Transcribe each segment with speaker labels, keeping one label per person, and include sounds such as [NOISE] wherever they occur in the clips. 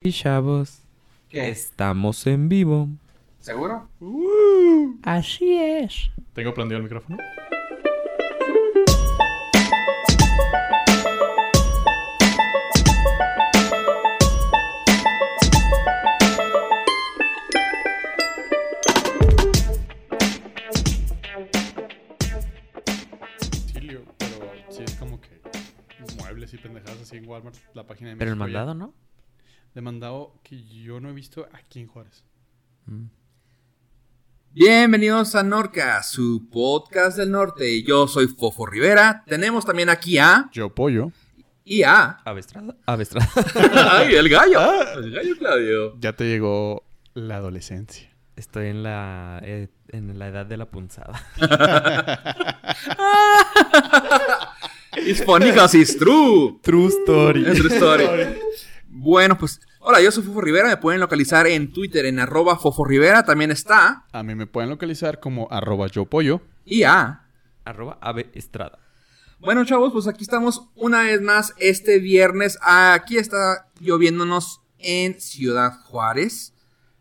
Speaker 1: papi chavos.
Speaker 2: ¿Qué?
Speaker 1: Estamos en vivo.
Speaker 2: ¿Seguro?
Speaker 1: Así es.
Speaker 3: Tengo prendido el micrófono. Chilio, pero sí es como que muebles y pendejadas así en Walmart, la página de
Speaker 1: Pero el
Speaker 3: México ya.
Speaker 1: mandado, ¿no?
Speaker 3: Demandado que yo no he visto aquí en Juárez.
Speaker 1: Mm.
Speaker 2: Bienvenidos a Norca, su podcast del norte. Yo soy Fofo Rivera. Tenemos también aquí a...
Speaker 3: Yo pollo.
Speaker 1: [LAUGHS]
Speaker 2: Y a...
Speaker 1: Avestrada. Avestrada.
Speaker 2: ¡Ay, el gallo! El gallo Claudio.
Speaker 3: Ya te llegó la adolescencia.
Speaker 1: Estoy en la, eh, en la edad de la punzada.
Speaker 2: It's funny 'cause it's true.
Speaker 3: [LAUGHS] True story.
Speaker 2: It's true story. Bueno, pues... Hola, yo soy Fofo Rivera. Me pueden localizar en Twitter en arroba Fofo Rivera. También está...
Speaker 3: A mí me pueden localizar como arroba yo pollo.
Speaker 2: Y a...
Speaker 1: Arroba avestrada.
Speaker 2: Bueno, chavos, pues aquí estamos una vez más este viernes. Aquí está lloviéndonos en Ciudad Juárez.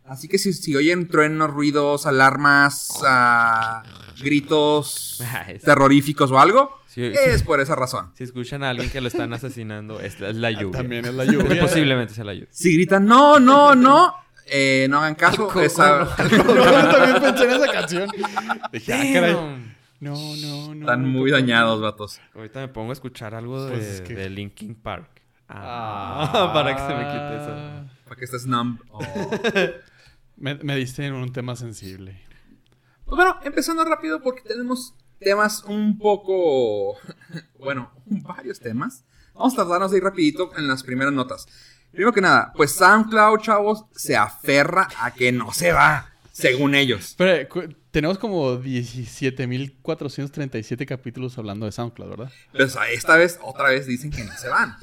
Speaker 2: Así que si, si oyen truenos, ruidos, alarmas, ah,
Speaker 1: [LAUGHS]
Speaker 2: gritos
Speaker 1: Ah, es-
Speaker 2: terroríficos o algo,
Speaker 1: Sí, sí.
Speaker 2: es por esa razón.
Speaker 1: Si escuchan a alguien que lo están asesinando, es la, es la lluvia. Pues
Speaker 3: También es la lluvia.
Speaker 1: Posiblemente sea la lluvia.
Speaker 2: Si gritan no, no, no, eh, no hagan caso.
Speaker 1: Coco,
Speaker 2: esa-
Speaker 3: [LAUGHS] Yo también pensé en esa canción. Dije, ah, caray.
Speaker 1: Damn.
Speaker 3: No, no, no.
Speaker 2: [LAUGHS] Están muy dañados, vatos.
Speaker 1: Ahorita me pongo a escuchar algo de,
Speaker 3: Pues es que-
Speaker 1: de Linkin Park. Ah, [LAUGHS]
Speaker 3: Ah.
Speaker 1: para que se me quite eso.
Speaker 2: Para que
Speaker 1: [LAUGHS]
Speaker 2: estés numb. Oh.
Speaker 3: Me, me diste en un tema sensible.
Speaker 2: Pues bueno, empezando rápido porque tenemos temas un poco, [LAUGHS] bueno, varios temas. Vamos a tratarnos de ir rapidito en las primeras notas. Primero que nada, pues SoundCloud, chavos, se aferra a que no se va, según ellos.
Speaker 3: Espera, cu- tenemos como 17.437 capítulos hablando de SoundCloud, ¿verdad?
Speaker 2: Pero o sea, esta vez, otra vez dicen que no se van.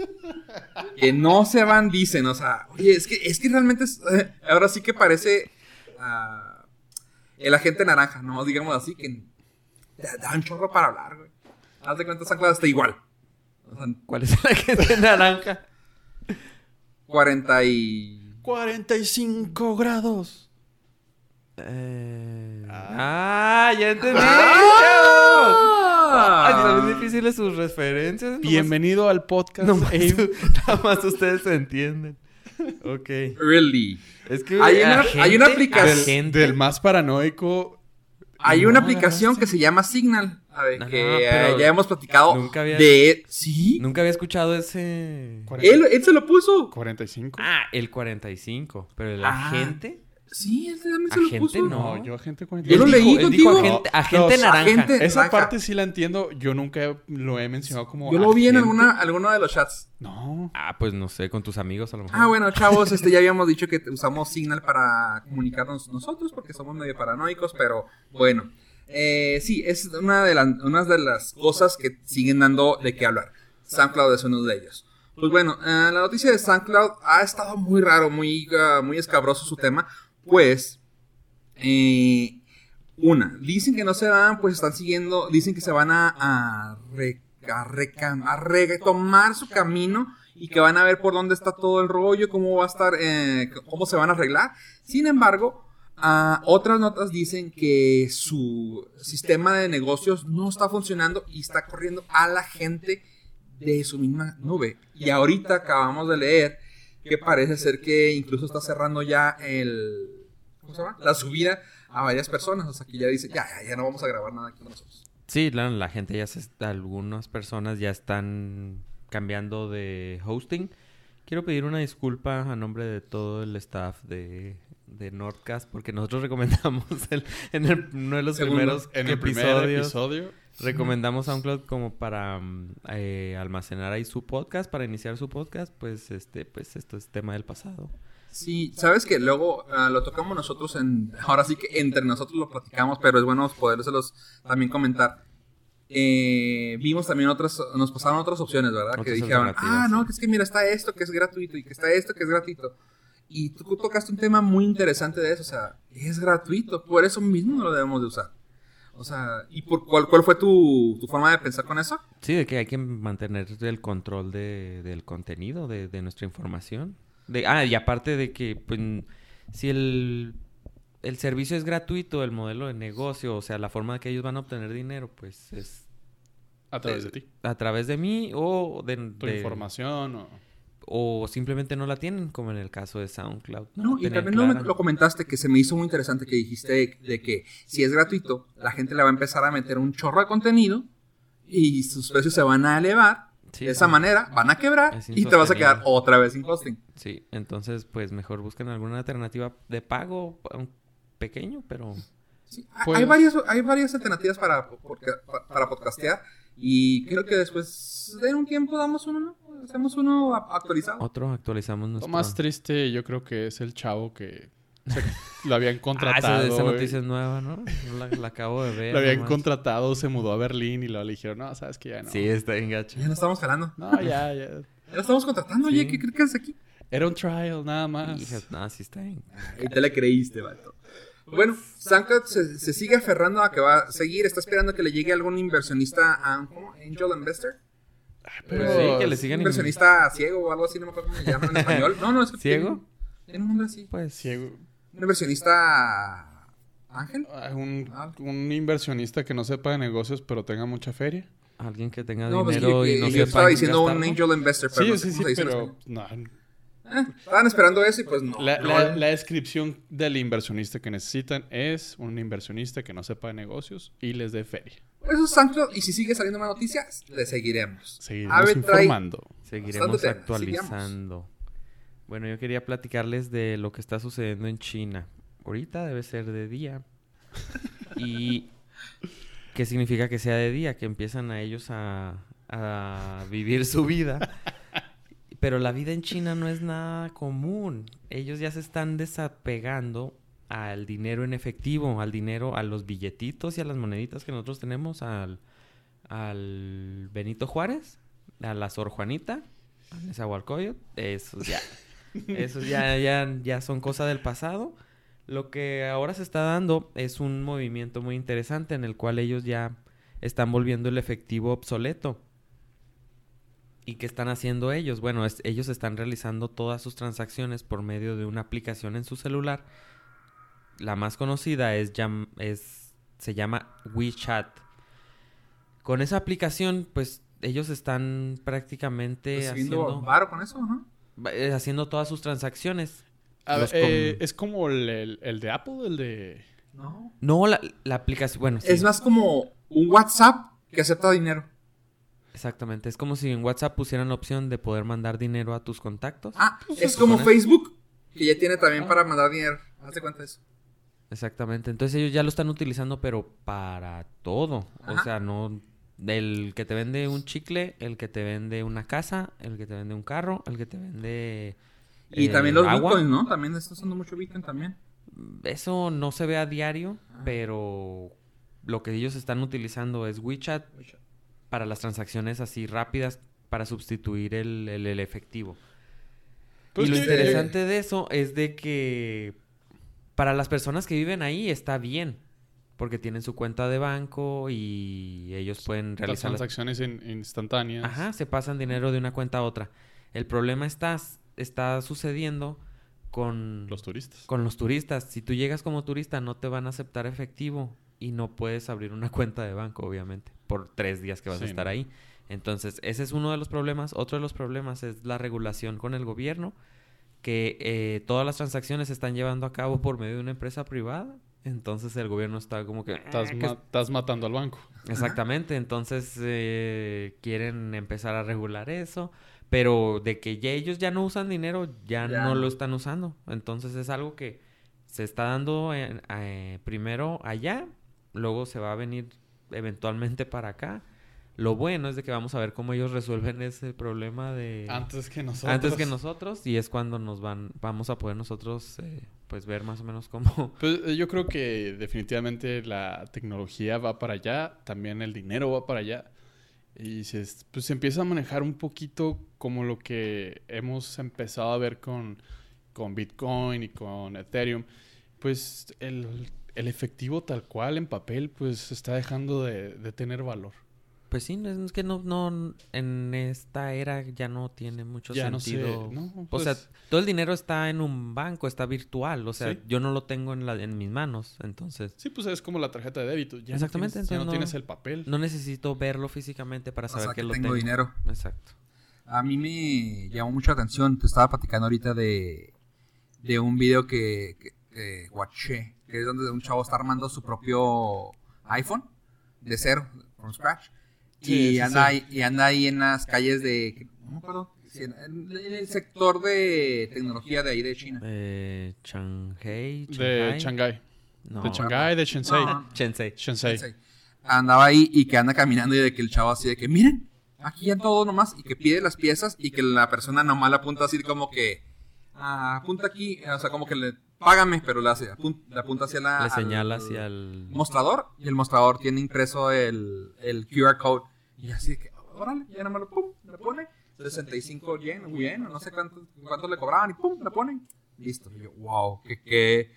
Speaker 2: Que no se van, dicen, o sea, oye, es que, es que realmente, es- eh, ahora sí que parece ah, el agente naranja, no digamos así, que da, da un chorro para hablar, güey. Haz de cuenta, SoundCloud está igual. O sea,
Speaker 1: ¿Cuál es la gente naranja?
Speaker 2: 40 y...
Speaker 3: 45 grados.
Speaker 1: Eh, Ah, ya entendí.
Speaker 2: Ah.
Speaker 1: chavos. Ay, son bien difíciles sus referencias. nomás-
Speaker 3: Bienvenido al
Speaker 1: [LAUGHS]
Speaker 3: podcast.
Speaker 1: nomás-
Speaker 3: Abe.
Speaker 1: nada más ustedes se entienden. Ok.
Speaker 2: Really.
Speaker 1: Es que
Speaker 2: Hay una-
Speaker 1: agente-
Speaker 2: hay una aplicación-
Speaker 1: agente-
Speaker 3: Del más paranoico.
Speaker 2: Hay
Speaker 3: No,
Speaker 2: una
Speaker 3: la
Speaker 2: aplicación
Speaker 3: verdad,
Speaker 2: que se llama Signal. A ver,
Speaker 1: Ajá,
Speaker 2: que eh,
Speaker 1: pero
Speaker 2: ya hemos platicado
Speaker 1: nunca había-
Speaker 2: de... Sí.
Speaker 1: Nunca había escuchado ese.
Speaker 2: Él, él se lo puso.
Speaker 3: 45.
Speaker 1: Ah, el 45. Pero el
Speaker 2: Ah.
Speaker 1: agente.
Speaker 2: Sí, él también se lo
Speaker 1: Agente,
Speaker 2: puso.
Speaker 1: no.
Speaker 3: No, yo agente
Speaker 2: Yo lo
Speaker 3: 45.
Speaker 1: Él
Speaker 2: leí
Speaker 1: dijo- él dijo
Speaker 2: contigo.
Speaker 1: agente,
Speaker 3: No,
Speaker 1: agente
Speaker 3: no,
Speaker 1: naranja.
Speaker 2: agente-
Speaker 3: Esa
Speaker 2: Naranja.
Speaker 3: parte sí la entiendo. Yo nunca lo he mencionado como.
Speaker 2: Yo lo vi en
Speaker 3: agente.
Speaker 2: alguna, alguno de los chats.
Speaker 3: No.
Speaker 1: Ah, pues no sé, con tus amigos a lo mejor.
Speaker 2: Ah, bueno, chavos, este, ya habíamos dicho que usamos Signal para comunicarnos nosotros porque somos medio paranoicos, pero bueno. Eh, sí, es una de, las una de las cosas que siguen dando de qué hablar. SoundCloud es uno de ellos. Pues bueno, eh, la noticia de SoundCloud ha estado muy raro, muy, ah, muy escabroso su tema, pues... eh, una, dicen que no se van, pues están siguiendo, dicen que se van a, a, re- a recam- a retomar su camino y que van a ver por dónde está todo el rollo, cómo va a estar, eh, c- cómo se van a arreglar. Sin embargo, ah, otras notas dicen que su sistema de negocios no está funcionando y está corriendo a la gente de su misma nube. Y ahorita acabamos de leer que parece ser que incluso está cerrando ya el, ¿cómo se llama? La subida a varias personas. O sea, que ya dice, ya, ya, ya no vamos a grabar nada aquí con nosotros.
Speaker 1: Sí, la, la gente ya se está, algunas personas ya están cambiando de hosting. Quiero pedir una disculpa a nombre de todo el staff de, de Nordcast porque nosotros [LAUGHS] recomendamos el- en el- uno de los
Speaker 2: Segundo,
Speaker 1: primeros
Speaker 3: En el
Speaker 1: episodios.
Speaker 3: primer episodio.
Speaker 1: Recomendamos SoundCloud como para mm, eh, almacenar ahí su podcast, para iniciar su podcast, pues este, pues esto es tema del pasado.
Speaker 2: Sí, sabes que luego ah, lo tocamos nosotros en. Ahora sí que entre nosotros lo platicamos, pero es bueno poderlos también comentar. Eh, vimos también otras, nos pasaron otras opciones, ¿verdad? que
Speaker 1: Otras
Speaker 2: dijeron, ah,
Speaker 1: alternativas,
Speaker 2: no,
Speaker 1: sí.
Speaker 2: que es que mira, está esto que es gratuito y que está esto que es gratuito. Y tú tocaste un tema muy interesante de eso, o sea, es gratuito, por eso mismo no lo debemos de usar. O sea, ¿y por cuál, cuál fue tu, tu forma de pensar con eso?
Speaker 1: Sí, de que hay que mantener el control de- del contenido, de, de nuestra información. De, ah, y aparte de que, pues, si el, el servicio es gratuito, el modelo de negocio, o sea, la forma que ellos van a obtener dinero, pues es
Speaker 3: A través de ti.
Speaker 1: a través de mí o de...
Speaker 3: Tu
Speaker 1: de-
Speaker 3: información o...
Speaker 1: o simplemente no la tienen, como en el caso de SoundCloud.
Speaker 2: No,
Speaker 1: la
Speaker 2: y
Speaker 1: tienen
Speaker 2: también lo-
Speaker 1: clara.
Speaker 2: lo comentaste que se me hizo muy interesante que dijiste de, de que si es gratuito, la gente le va a empezar a meter un chorro de contenido y sus precios se van a elevar.
Speaker 1: Sí,
Speaker 2: de esa
Speaker 1: sí.
Speaker 2: manera van a quebrar
Speaker 1: Es
Speaker 2: y te vas a quedar
Speaker 1: insostenible.
Speaker 2: otra vez sin hosting.
Speaker 1: Sí, entonces pues mejor busquen alguna alternativa de pago aun pequeño, pero
Speaker 2: Sí, ha-
Speaker 3: Pues-
Speaker 2: hay, varias, hay varias alternativas para, podca- pa- para podcastear y creo que después de un tiempo damos uno, ¿no? Hacemos uno a- actualizado.
Speaker 1: otro actualizamos nuestro.
Speaker 3: Lo más triste yo creo que es el chavo que se- [LAUGHS] lo habían
Speaker 1: Ah,
Speaker 3: contratado.
Speaker 1: esa, esa
Speaker 3: güey.
Speaker 1: noticia es nueva, ¿no? No La, la acabo de ver.
Speaker 3: Lo habían
Speaker 1: nomás.
Speaker 3: contratado, se mudó a Berlín y luego le dijeron, no, sabes que ya no.
Speaker 1: Sí, está bien gacho.
Speaker 2: Ya lo estamos jalando.
Speaker 3: No, ya, ya.
Speaker 2: Ya lo estamos contratando, oye,
Speaker 1: Sí.
Speaker 2: ¿qué crees que haces aquí?
Speaker 3: Era un trial nada más.
Speaker 1: Hijas, no, sí está bien.
Speaker 2: Ahí te la creíste, vato. Bueno, SoundCloud se, se sigue aferrando a que va a seguir. Está esperando que le llegue algún inversionista a ¿cómo? Angel Investor.
Speaker 1: Pues
Speaker 3: Pero-
Speaker 1: sí, que le sigan
Speaker 2: Inversionista ciego o algo así, no me acuerdo cómo se
Speaker 3: [LAUGHS]
Speaker 2: llama en español. No, no, es que
Speaker 1: ¿Ciego?
Speaker 2: tiene- Tiene un nombre así.
Speaker 1: Pues
Speaker 3: Ciego.
Speaker 2: Un inversionista ángel.
Speaker 3: Ah, Un,
Speaker 2: Ah.
Speaker 3: un inversionista que no sepa de negocios pero tenga mucha feria.
Speaker 1: alguien que
Speaker 3: Ah,
Speaker 1: tenga
Speaker 2: No, pues,
Speaker 1: dinero
Speaker 2: que-
Speaker 1: y no
Speaker 2: que-
Speaker 1: sepa
Speaker 2: yo estaba
Speaker 1: en
Speaker 2: diciendo un
Speaker 1: gastarlo.
Speaker 2: angel investor, pero
Speaker 3: Sí,
Speaker 2: no sé
Speaker 3: sí,
Speaker 2: cómo
Speaker 3: sí,
Speaker 2: se dice en
Speaker 3: pero
Speaker 2: español.
Speaker 3: no,
Speaker 2: Eh, estaban esperando eso y pues no.
Speaker 3: la,
Speaker 2: no,
Speaker 3: la- la descripción del inversionista que necesitan es un inversionista que no sepa de negocios y les dé feria.
Speaker 2: Eso es SoundCloud y si sigue saliendo más noticias, le seguiremos.
Speaker 3: Seguiremos
Speaker 2: Ave trae-
Speaker 3: informando.
Speaker 1: Seguiremos
Speaker 2: Bastante tema,
Speaker 1: actualizando. Bueno, yo quería platicarles de lo que está sucediendo en China. Ahorita debe ser de día. ¿Y qué significa que sea de día? Que empiezan a ellos a, a vivir su vida. Pero la vida en China no es nada común. Ellos ya se están desapegando al dinero en efectivo, al dinero, a los billetitos y a las moneditas que nosotros tenemos, al, al Benito Juárez, a la Sor Juanita, a Nezahualcóyotl, esos ya, esos ya, ya, ya son cosas del pasado. Lo que ahora se está dando es un movimiento muy interesante en el cual ellos ya están volviendo el efectivo obsoleto. ¿Y qué están haciendo ellos? Bueno, es- ellos están realizando todas sus transacciones por medio de una aplicación en su celular. La más conocida es, llam- es se llama WeChat. Con esa aplicación, pues ellos están prácticamente
Speaker 2: Recibiendo
Speaker 1: haciendo,
Speaker 2: varo con eso, ¿no?
Speaker 1: va- eh, haciendo todas sus transacciones.
Speaker 3: A ver,
Speaker 1: Los com-
Speaker 3: eh, es como el, el- el de Apple, el de...
Speaker 2: No.
Speaker 1: No, la, la aplicación, bueno, sí,
Speaker 2: Es más como un WhatsApp que acepta dinero.
Speaker 1: exactamente. Es como si en WhatsApp pusieran la opción de poder mandar dinero a tus contactos.
Speaker 2: Ah, es
Speaker 1: se
Speaker 2: como
Speaker 1: supone.
Speaker 2: Facebook, que ya tiene también
Speaker 3: Ah.
Speaker 2: para mandar dinero. Hazte cuenta de eso.
Speaker 1: Exactamente. Entonces ellos ya lo están utilizando, pero para todo. O
Speaker 2: Ajá.
Speaker 1: sea, no. El que te vende un chicle, el que te vende una casa, el que te vende un carro, el que te vende.
Speaker 2: Y
Speaker 1: eh,
Speaker 2: también los
Speaker 1: agua.
Speaker 2: bitcoins, ¿no? También está usando mucho bitcoin también.
Speaker 1: Eso no se ve a diario,
Speaker 2: Ah.
Speaker 1: pero lo que ellos están utilizando es WeChat para las transacciones así rápidas para sustituir el, el- el efectivo.
Speaker 3: Pues
Speaker 1: y lo
Speaker 3: que-
Speaker 1: interesante de eso es de que para las personas que viven ahí está bien, porque tienen su cuenta de banco y ellos pueden
Speaker 3: Las
Speaker 1: realizar las
Speaker 3: transacciones in- instantáneas.
Speaker 1: Ajá, se pasan dinero de una cuenta a otra. El problema está, está sucediendo con
Speaker 3: Los turistas.
Speaker 1: con los turistas. Si tú llegas como turista, no te van a aceptar efectivo y no puedes abrir una [LAUGHS] cuenta de banco, obviamente, por tres días que vas a
Speaker 3: Sí,
Speaker 1: estar
Speaker 3: ¿no?
Speaker 1: ahí. Entonces, ese es uno de los problemas. Otro de los problemas es la regulación con el gobierno, que eh, todas las transacciones se están llevando a cabo por medio de una empresa privada. Entonces, el gobierno está como que...
Speaker 3: Estás,
Speaker 1: "Ah, que
Speaker 3: ma- estás matando al banco.
Speaker 1: Exactamente, entonces eh, quieren empezar a regular eso, pero de que ya ellos ya no usan dinero, ya,
Speaker 2: Ya
Speaker 1: no
Speaker 2: no.
Speaker 1: lo están usando. Entonces es algo que se está dando en- eh, primero allá, luego se va a venir eventualmente para acá. Lo bueno es de que vamos a ver cómo ellos resuelven [LAUGHS] ese problema de
Speaker 3: Antes que nosotros.
Speaker 1: antes que nosotros y es cuando nos van vamos a poder nosotros eh, pues ver más o menos cómo
Speaker 3: Pues, eh, yo creo que definitivamente la tecnología va para allá, también el dinero va para allá. Y se, es- pues, se empieza a manejar un poquito como lo que hemos empezado a ver con, con Bitcoin y con Ethereum. Pues el, el efectivo tal cual en papel pues está dejando de, de tener valor.
Speaker 1: Pues sí, es que no, no, en esta era ya no tiene mucho
Speaker 3: Ya no sé,
Speaker 1: sentido.
Speaker 3: ¿no?
Speaker 1: O sea,
Speaker 3: Pues-
Speaker 1: todo el dinero está en un banco, está virtual. O sea,
Speaker 3: Sí.
Speaker 1: yo no lo tengo en, la, en mis manos. Entonces,
Speaker 3: Sí, pues es como la tarjeta de débito. Ya
Speaker 1: Exactamente,
Speaker 3: No tienes, ya
Speaker 1: entonces
Speaker 3: no,
Speaker 1: no-
Speaker 3: tienes el papel.
Speaker 1: no necesito verlo físicamente para
Speaker 2: O
Speaker 1: saber
Speaker 2: sea,
Speaker 1: que,
Speaker 2: que
Speaker 1: lo
Speaker 2: tengo dinero.
Speaker 1: Exacto.
Speaker 2: A mí me llamó mucho la atención. Te estaba platicando ahorita de, de un video que, que, que guaché, que es donde un chavo está armando su propio iPhone de cero, from scratch.
Speaker 3: Sí,
Speaker 2: y,
Speaker 3: sí,
Speaker 2: anda
Speaker 3: sí.
Speaker 2: Ahí, y anda ahí en las calles de. No me acuerdo. si en- En, en el sector de tecnología de ahí de China.
Speaker 1: Eh, Shanghai,
Speaker 3: De
Speaker 1: Shanghai.
Speaker 3: Shanghái.
Speaker 1: No.
Speaker 3: De Shanghái, de Shenzhen.
Speaker 2: No.
Speaker 1: Shenzhen.
Speaker 3: Shenzhen.
Speaker 2: Sí. Andaba ahí y que anda caminando y de que el chavo así de que miren, aquí ya todo nomás y que pide las piezas y que la persona nomás la apunta así como que ah, apunta aquí, o sea, como que le págame, pero la, hace, apun- la apunta hacia la
Speaker 1: Le
Speaker 2: al
Speaker 1: señala hacia el...
Speaker 2: mostrador y el mostrador tiene impreso el, el QR code y así de que órale, ya nomás lo pum, le pone 65 yen, o yen, o no sé cuánto, cuánto le cobraban y pum, la ponen. Listo. Y yo, wow, que, que,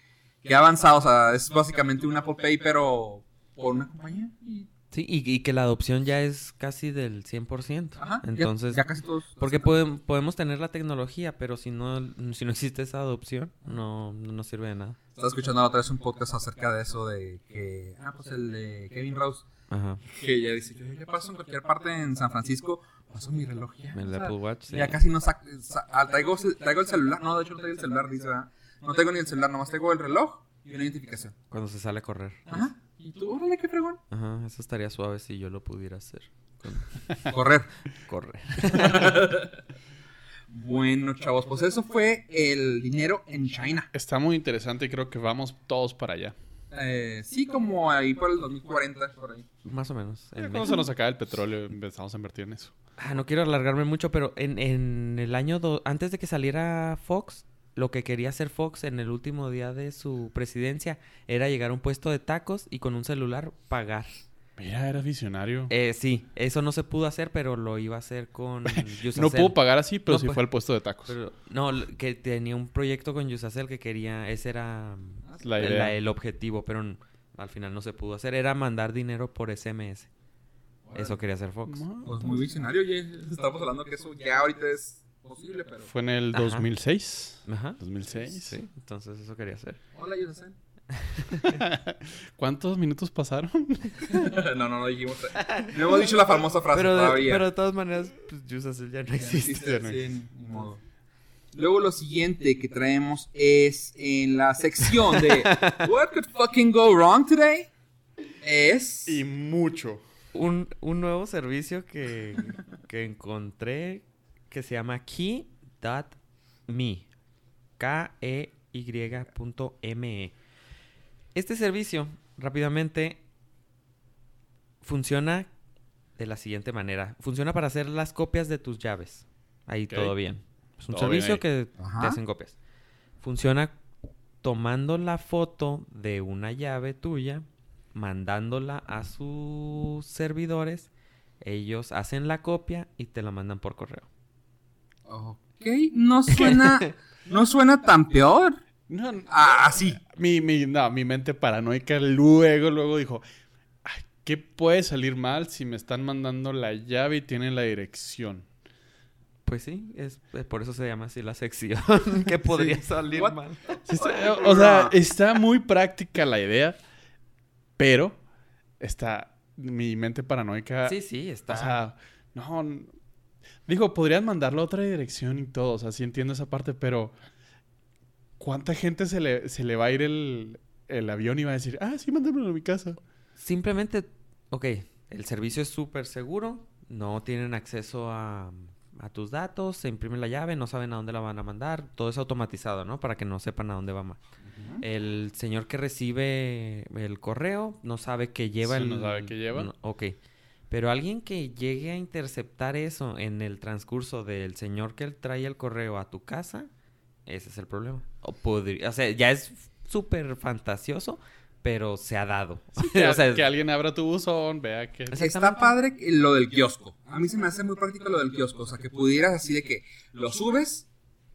Speaker 2: que avanzado, o sea, es básicamente un Apple Pay pero por una compañía y
Speaker 1: Sí, y, y que la adopción ya es casi del 100%.
Speaker 2: Ajá, ya-
Speaker 1: Entonces,
Speaker 2: ya, casi todos.
Speaker 1: porque podem- podemos tener la tecnología, pero si no, si no existe esa adopción, no, no nos sirve de nada.
Speaker 2: Estaba escuchando otra vez un podcast acerca de eso de que. Ah, pues el de Kevin Rose.
Speaker 1: Ajá,
Speaker 2: Que ya dice: Yo ya paso en cualquier parte en San Francisco, paso mi reloj ya.
Speaker 1: el
Speaker 2: o sea,
Speaker 1: Apple Watch. eh, sí.
Speaker 2: Ya casi no saco. traigo, traigo el celular. No, de hecho no traigo el celular, dice. ¿verdad? No tengo ni el celular, nomás tengo el reloj y una identificación.
Speaker 1: Cuando se sale a correr.
Speaker 2: Ajá. Y tú, órale, qué fregón.
Speaker 1: Ajá, eso estaría suave si yo lo pudiera hacer. Con...
Speaker 2: Correr.
Speaker 1: Correr.
Speaker 2: Bueno, chavos, pues eso fue el dinero en China.
Speaker 3: Está muy interesante y creo que vamos todos para allá.
Speaker 2: Eh, sí, como ahí por el 2040, por ahí.
Speaker 1: Más o menos.
Speaker 2: Eh,
Speaker 1: en
Speaker 3: ¿Cómo
Speaker 1: México.
Speaker 3: se nos acaba el petróleo? Empezamos a invertir en eso.
Speaker 1: Ah, no quiero alargarme mucho, pero en, en el año... do- Antes de que saliera Fox, lo que quería hacer Fox en el último día de su presidencia era llegar a un puesto de tacos y con un celular pagar.
Speaker 3: Mira, eras visionario.
Speaker 1: Eh, sí, eso no se pudo hacer, pero lo iba a hacer
Speaker 2: [LAUGHS]
Speaker 1: con Yusacel.
Speaker 3: no pudo pagar así,
Speaker 1: pues,
Speaker 3: pero
Speaker 1: No,
Speaker 3: sí
Speaker 1: pues.
Speaker 3: fue al puesto de tacos.
Speaker 1: Pero- no, l- que tenía un proyecto con Yusacel que quería, ese era mm,
Speaker 3: la
Speaker 1: el-
Speaker 3: idea.
Speaker 1: la- el objetivo, pero n- al final no se pudo hacer. Era mandar dinero por SMS. Eso quería hacer Fox.
Speaker 3: Ma-
Speaker 2: Pues muy visionario, oye. Estamos hablando que eso ya ahorita es posible, pero.
Speaker 3: Fue en el
Speaker 1: Ajá.
Speaker 3: 2006.
Speaker 1: Ajá.
Speaker 3: 2006.
Speaker 1: Sí, entonces eso quería hacer.
Speaker 2: Hola, yo soy
Speaker 3: ¿Cuántos minutos pasaron?
Speaker 2: [LAUGHS] no, no, no dijimos. No hemos dicho la famosa frase
Speaker 1: Pero de,
Speaker 2: todavía.
Speaker 1: pero de todas maneras, pues Yusacel ya no existe.
Speaker 2: existe, sí, ni modo. Luego lo siguiente que traemos es en la sección de What could fucking go wrong today? Es.
Speaker 3: Y mucho.
Speaker 1: Un, un nuevo servicio que, que encontré que se llama key.me. K-E-Y E punto M-E. Este servicio, rápidamente, funciona de la siguiente manera. Funciona para hacer las copias de tus llaves. Ahí
Speaker 3: Ok.
Speaker 1: todo bien. Es un
Speaker 3: Todo bien
Speaker 1: servicio
Speaker 3: ahí.
Speaker 1: que te
Speaker 2: Ajá.
Speaker 1: hacen copias. Funciona tomando la foto de una llave tuya, mandándola a sus servidores, ellos hacen la copia y te la mandan por correo.
Speaker 2: Ok, no suena. No suena tan peor.
Speaker 3: No, no.
Speaker 2: Ah, sí.
Speaker 3: Mi, mi, no, mi mente paranoica luego, luego dijo, "Ay, ¿qué puede salir mal si me están mandando la llave y tienen la dirección?
Speaker 1: Pues sí, es, es por eso se llama así la sección, [LAUGHS] que podría salir
Speaker 2: What?
Speaker 1: mal.
Speaker 3: Sí está- o sea, está muy práctica la idea, pero está mi mente paranoica.
Speaker 1: Sí, sí, está.
Speaker 3: O sea, no. n- Digo, podrían mandarlo a otra dirección y todo. O sea, sí entiendo esa parte, pero ¿cuánta gente se le, se le va a ir el, el avión y va a decir, ah, sí, mándamelo a
Speaker 1: [LAUGHS]
Speaker 3: mi casa?
Speaker 1: Simplemente, ok, el servicio es súper seguro, no tienen acceso a, a tus datos, se imprime la llave, no saben a dónde la van a mandar, todo es automatizado, ¿no? Para que no sepan a dónde va más. El señor que recibe el correo no sabe que lleva
Speaker 3: Sí,
Speaker 1: el...
Speaker 3: no sabe qué lleva.
Speaker 1: no- ok. Pero alguien que llegue a interceptar eso en el transcurso del señor que trae el correo a tu casa, ese es el problema. O, podría, o sea, ya es súper fantasioso, pero se ha dado. [LAUGHS]
Speaker 3: Que,
Speaker 1: O sea,
Speaker 3: que alguien abra tu buzón, vea que...
Speaker 2: Está padre que- lo del kiosco. A mí se me hace muy práctico lo del kiosco. O sea, que pudieras así de que lo subes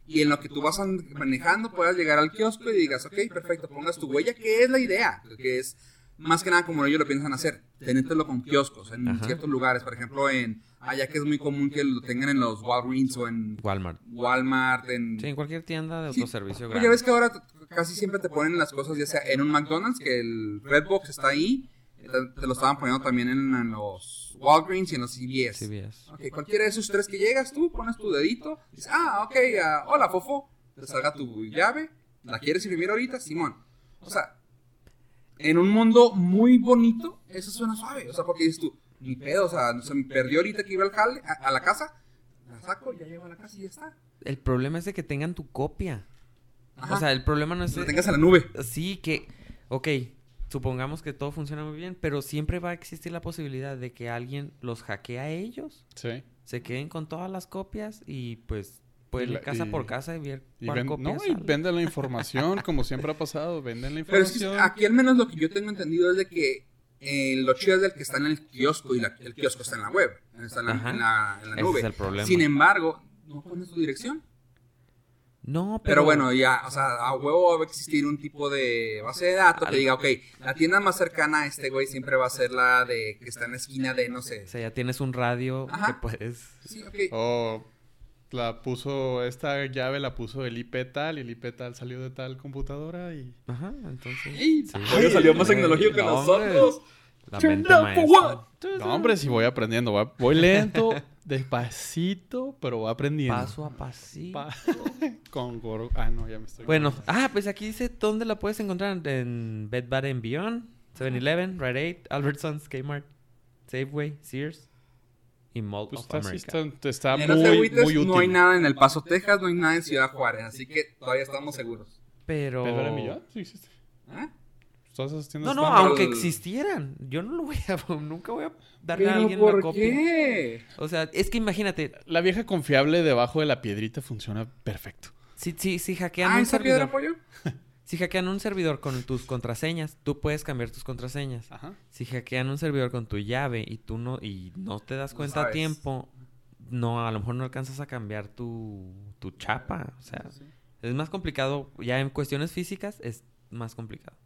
Speaker 2: y en lo que tú vas an- manejando puedas llegar al kiosco y digas, ok, perfecto, pongas tu huella, que es la idea. Que es, más que nada como ellos lo piensan hacer, tenértelo con kioscos en
Speaker 1: Ajá.
Speaker 2: ciertos lugares, por ejemplo, en allá que es muy común que lo tengan en los Walgreens o en
Speaker 1: Walmart.
Speaker 2: Walmart, en...
Speaker 1: Sí, en cualquier tienda de
Speaker 2: Mm. Sí,
Speaker 1: autoservicio
Speaker 2: Porque
Speaker 1: grande.
Speaker 2: ya ves que ahora t- casi siempre te ponen las cosas ya sea en un McDonald's, que el Redbox está ahí, te, te lo estaban poniendo también en, en los Walgreens y en los CVS.
Speaker 1: CVS.
Speaker 2: Ok, cualquiera de esos tres que llegas tú, pones tu dedito, dices, ah, ok, ah, hola, fofo, te salga tu llave, ¿la quieres imprimir ahorita? Simón. O sea, en un mundo muy bonito, eso suena suave, o sea, porque dices tú, ni pedo, o sea, se me perdió ahorita que iba al jale, a, a la casa, la saco, ya llego a la casa y ya está.
Speaker 1: El problema es de que tengan tu copia.
Speaker 2: Ajá.
Speaker 1: O sea, el problema no es...
Speaker 2: lo tengas en la nube.
Speaker 1: Sí, que... Ok, supongamos que todo funciona muy bien, pero siempre va a existir la posibilidad de que alguien los hackea a ellos,
Speaker 3: Sí.
Speaker 1: se queden con todas las copias y pues... Pueden
Speaker 3: Y
Speaker 1: ir
Speaker 3: la-
Speaker 1: casa
Speaker 3: y-
Speaker 1: por casa y ver
Speaker 3: Y
Speaker 1: cuál
Speaker 3: ven-
Speaker 1: copia
Speaker 3: no, y
Speaker 1: sale.
Speaker 3: venden la información, como siempre ha pasado, venden la
Speaker 2: Pero es que
Speaker 3: información.
Speaker 2: aquí al menos lo que yo tengo entendido es de que eh, lo chido es del que está en el kiosco y la- el kiosco está en la web, está en la,
Speaker 1: Ajá.
Speaker 2: en la- en la
Speaker 1: Ese
Speaker 2: nube.
Speaker 1: es el problema.
Speaker 2: Sin em- embargo, no pones tu dirección.
Speaker 1: No, pero...
Speaker 2: Pero bueno, ya, o sea, a huevo va a existir un tipo de base de datos que diga, ok, la tienda más cercana a este güey siempre va a ser la de que está en la esquina de, no sé.
Speaker 1: O sea, ya tienes un radio que
Speaker 2: eh. Ajá.
Speaker 1: puedes...
Speaker 2: Sí, ok.
Speaker 3: O Oh, la puso, esta llave la puso el IP tal y el IP tal salió de tal computadora y.
Speaker 1: Ajá, entonces...
Speaker 2: Ey,
Speaker 1: sí.
Speaker 2: oye, salió más
Speaker 1: Güey,
Speaker 2: tecnológico que
Speaker 1: no,
Speaker 2: nosotros.
Speaker 1: hombre. La
Speaker 2: Turn
Speaker 1: mente
Speaker 2: down for
Speaker 1: maestra.
Speaker 3: No, hombre, sí voy aprendiendo. Voy, voy
Speaker 2: [LAUGHS]
Speaker 3: lento, despacito, pero voy aprendiendo.
Speaker 1: Paso a pasito.
Speaker 3: [LAUGHS] Pa- Con gorro. Ah, no, ya me estoy.
Speaker 1: Bueno, ah, pues aquí dice dónde la puedes encontrar. En Bed Bath and Beyond, 7-Eleven, Rite Aid, Albertsons, Kmart, Safeway, Sears y Mall
Speaker 3: Pues
Speaker 1: of
Speaker 3: está, sí
Speaker 1: oh, America.
Speaker 3: está- está
Speaker 2: En
Speaker 3: muy,
Speaker 2: los agüites
Speaker 3: muy útil.
Speaker 2: no hay nada en El Paso, Texas, no hay nada en Ciudad Juárez, así que todavía estamos seguros.
Speaker 1: Pero...
Speaker 3: ¿Pedro de Millón? Sí, existe.
Speaker 2: ¿Ah?
Speaker 3: Todas esas tiendas
Speaker 1: No, no,
Speaker 3: están-
Speaker 2: Vamos.
Speaker 1: aunque existieran, yo no lo voy a... [LAUGHS] Nunca voy a darle a alguien la copia.
Speaker 2: qué?
Speaker 1: O sea, es que imagínate,
Speaker 3: La vieja confiable debajo de la piedrita funciona perfecto.
Speaker 1: si, si, si hackean
Speaker 2: Ah,
Speaker 1: un
Speaker 2: ¿esa piedra
Speaker 1: servidor...
Speaker 2: pollo?
Speaker 1: Si hackean un servidor con tus contraseñas, tú puedes cambiar tus contraseñas.
Speaker 3: Ajá.
Speaker 1: Si hackean un servidor con tu llave y tú no y no te das
Speaker 2: No
Speaker 1: cuenta a
Speaker 2: sabes.
Speaker 1: tiempo, no a lo mejor no alcanzas a cambiar tu tu chapa, o sea, es más complicado ya en cuestiones físicas es más complicado.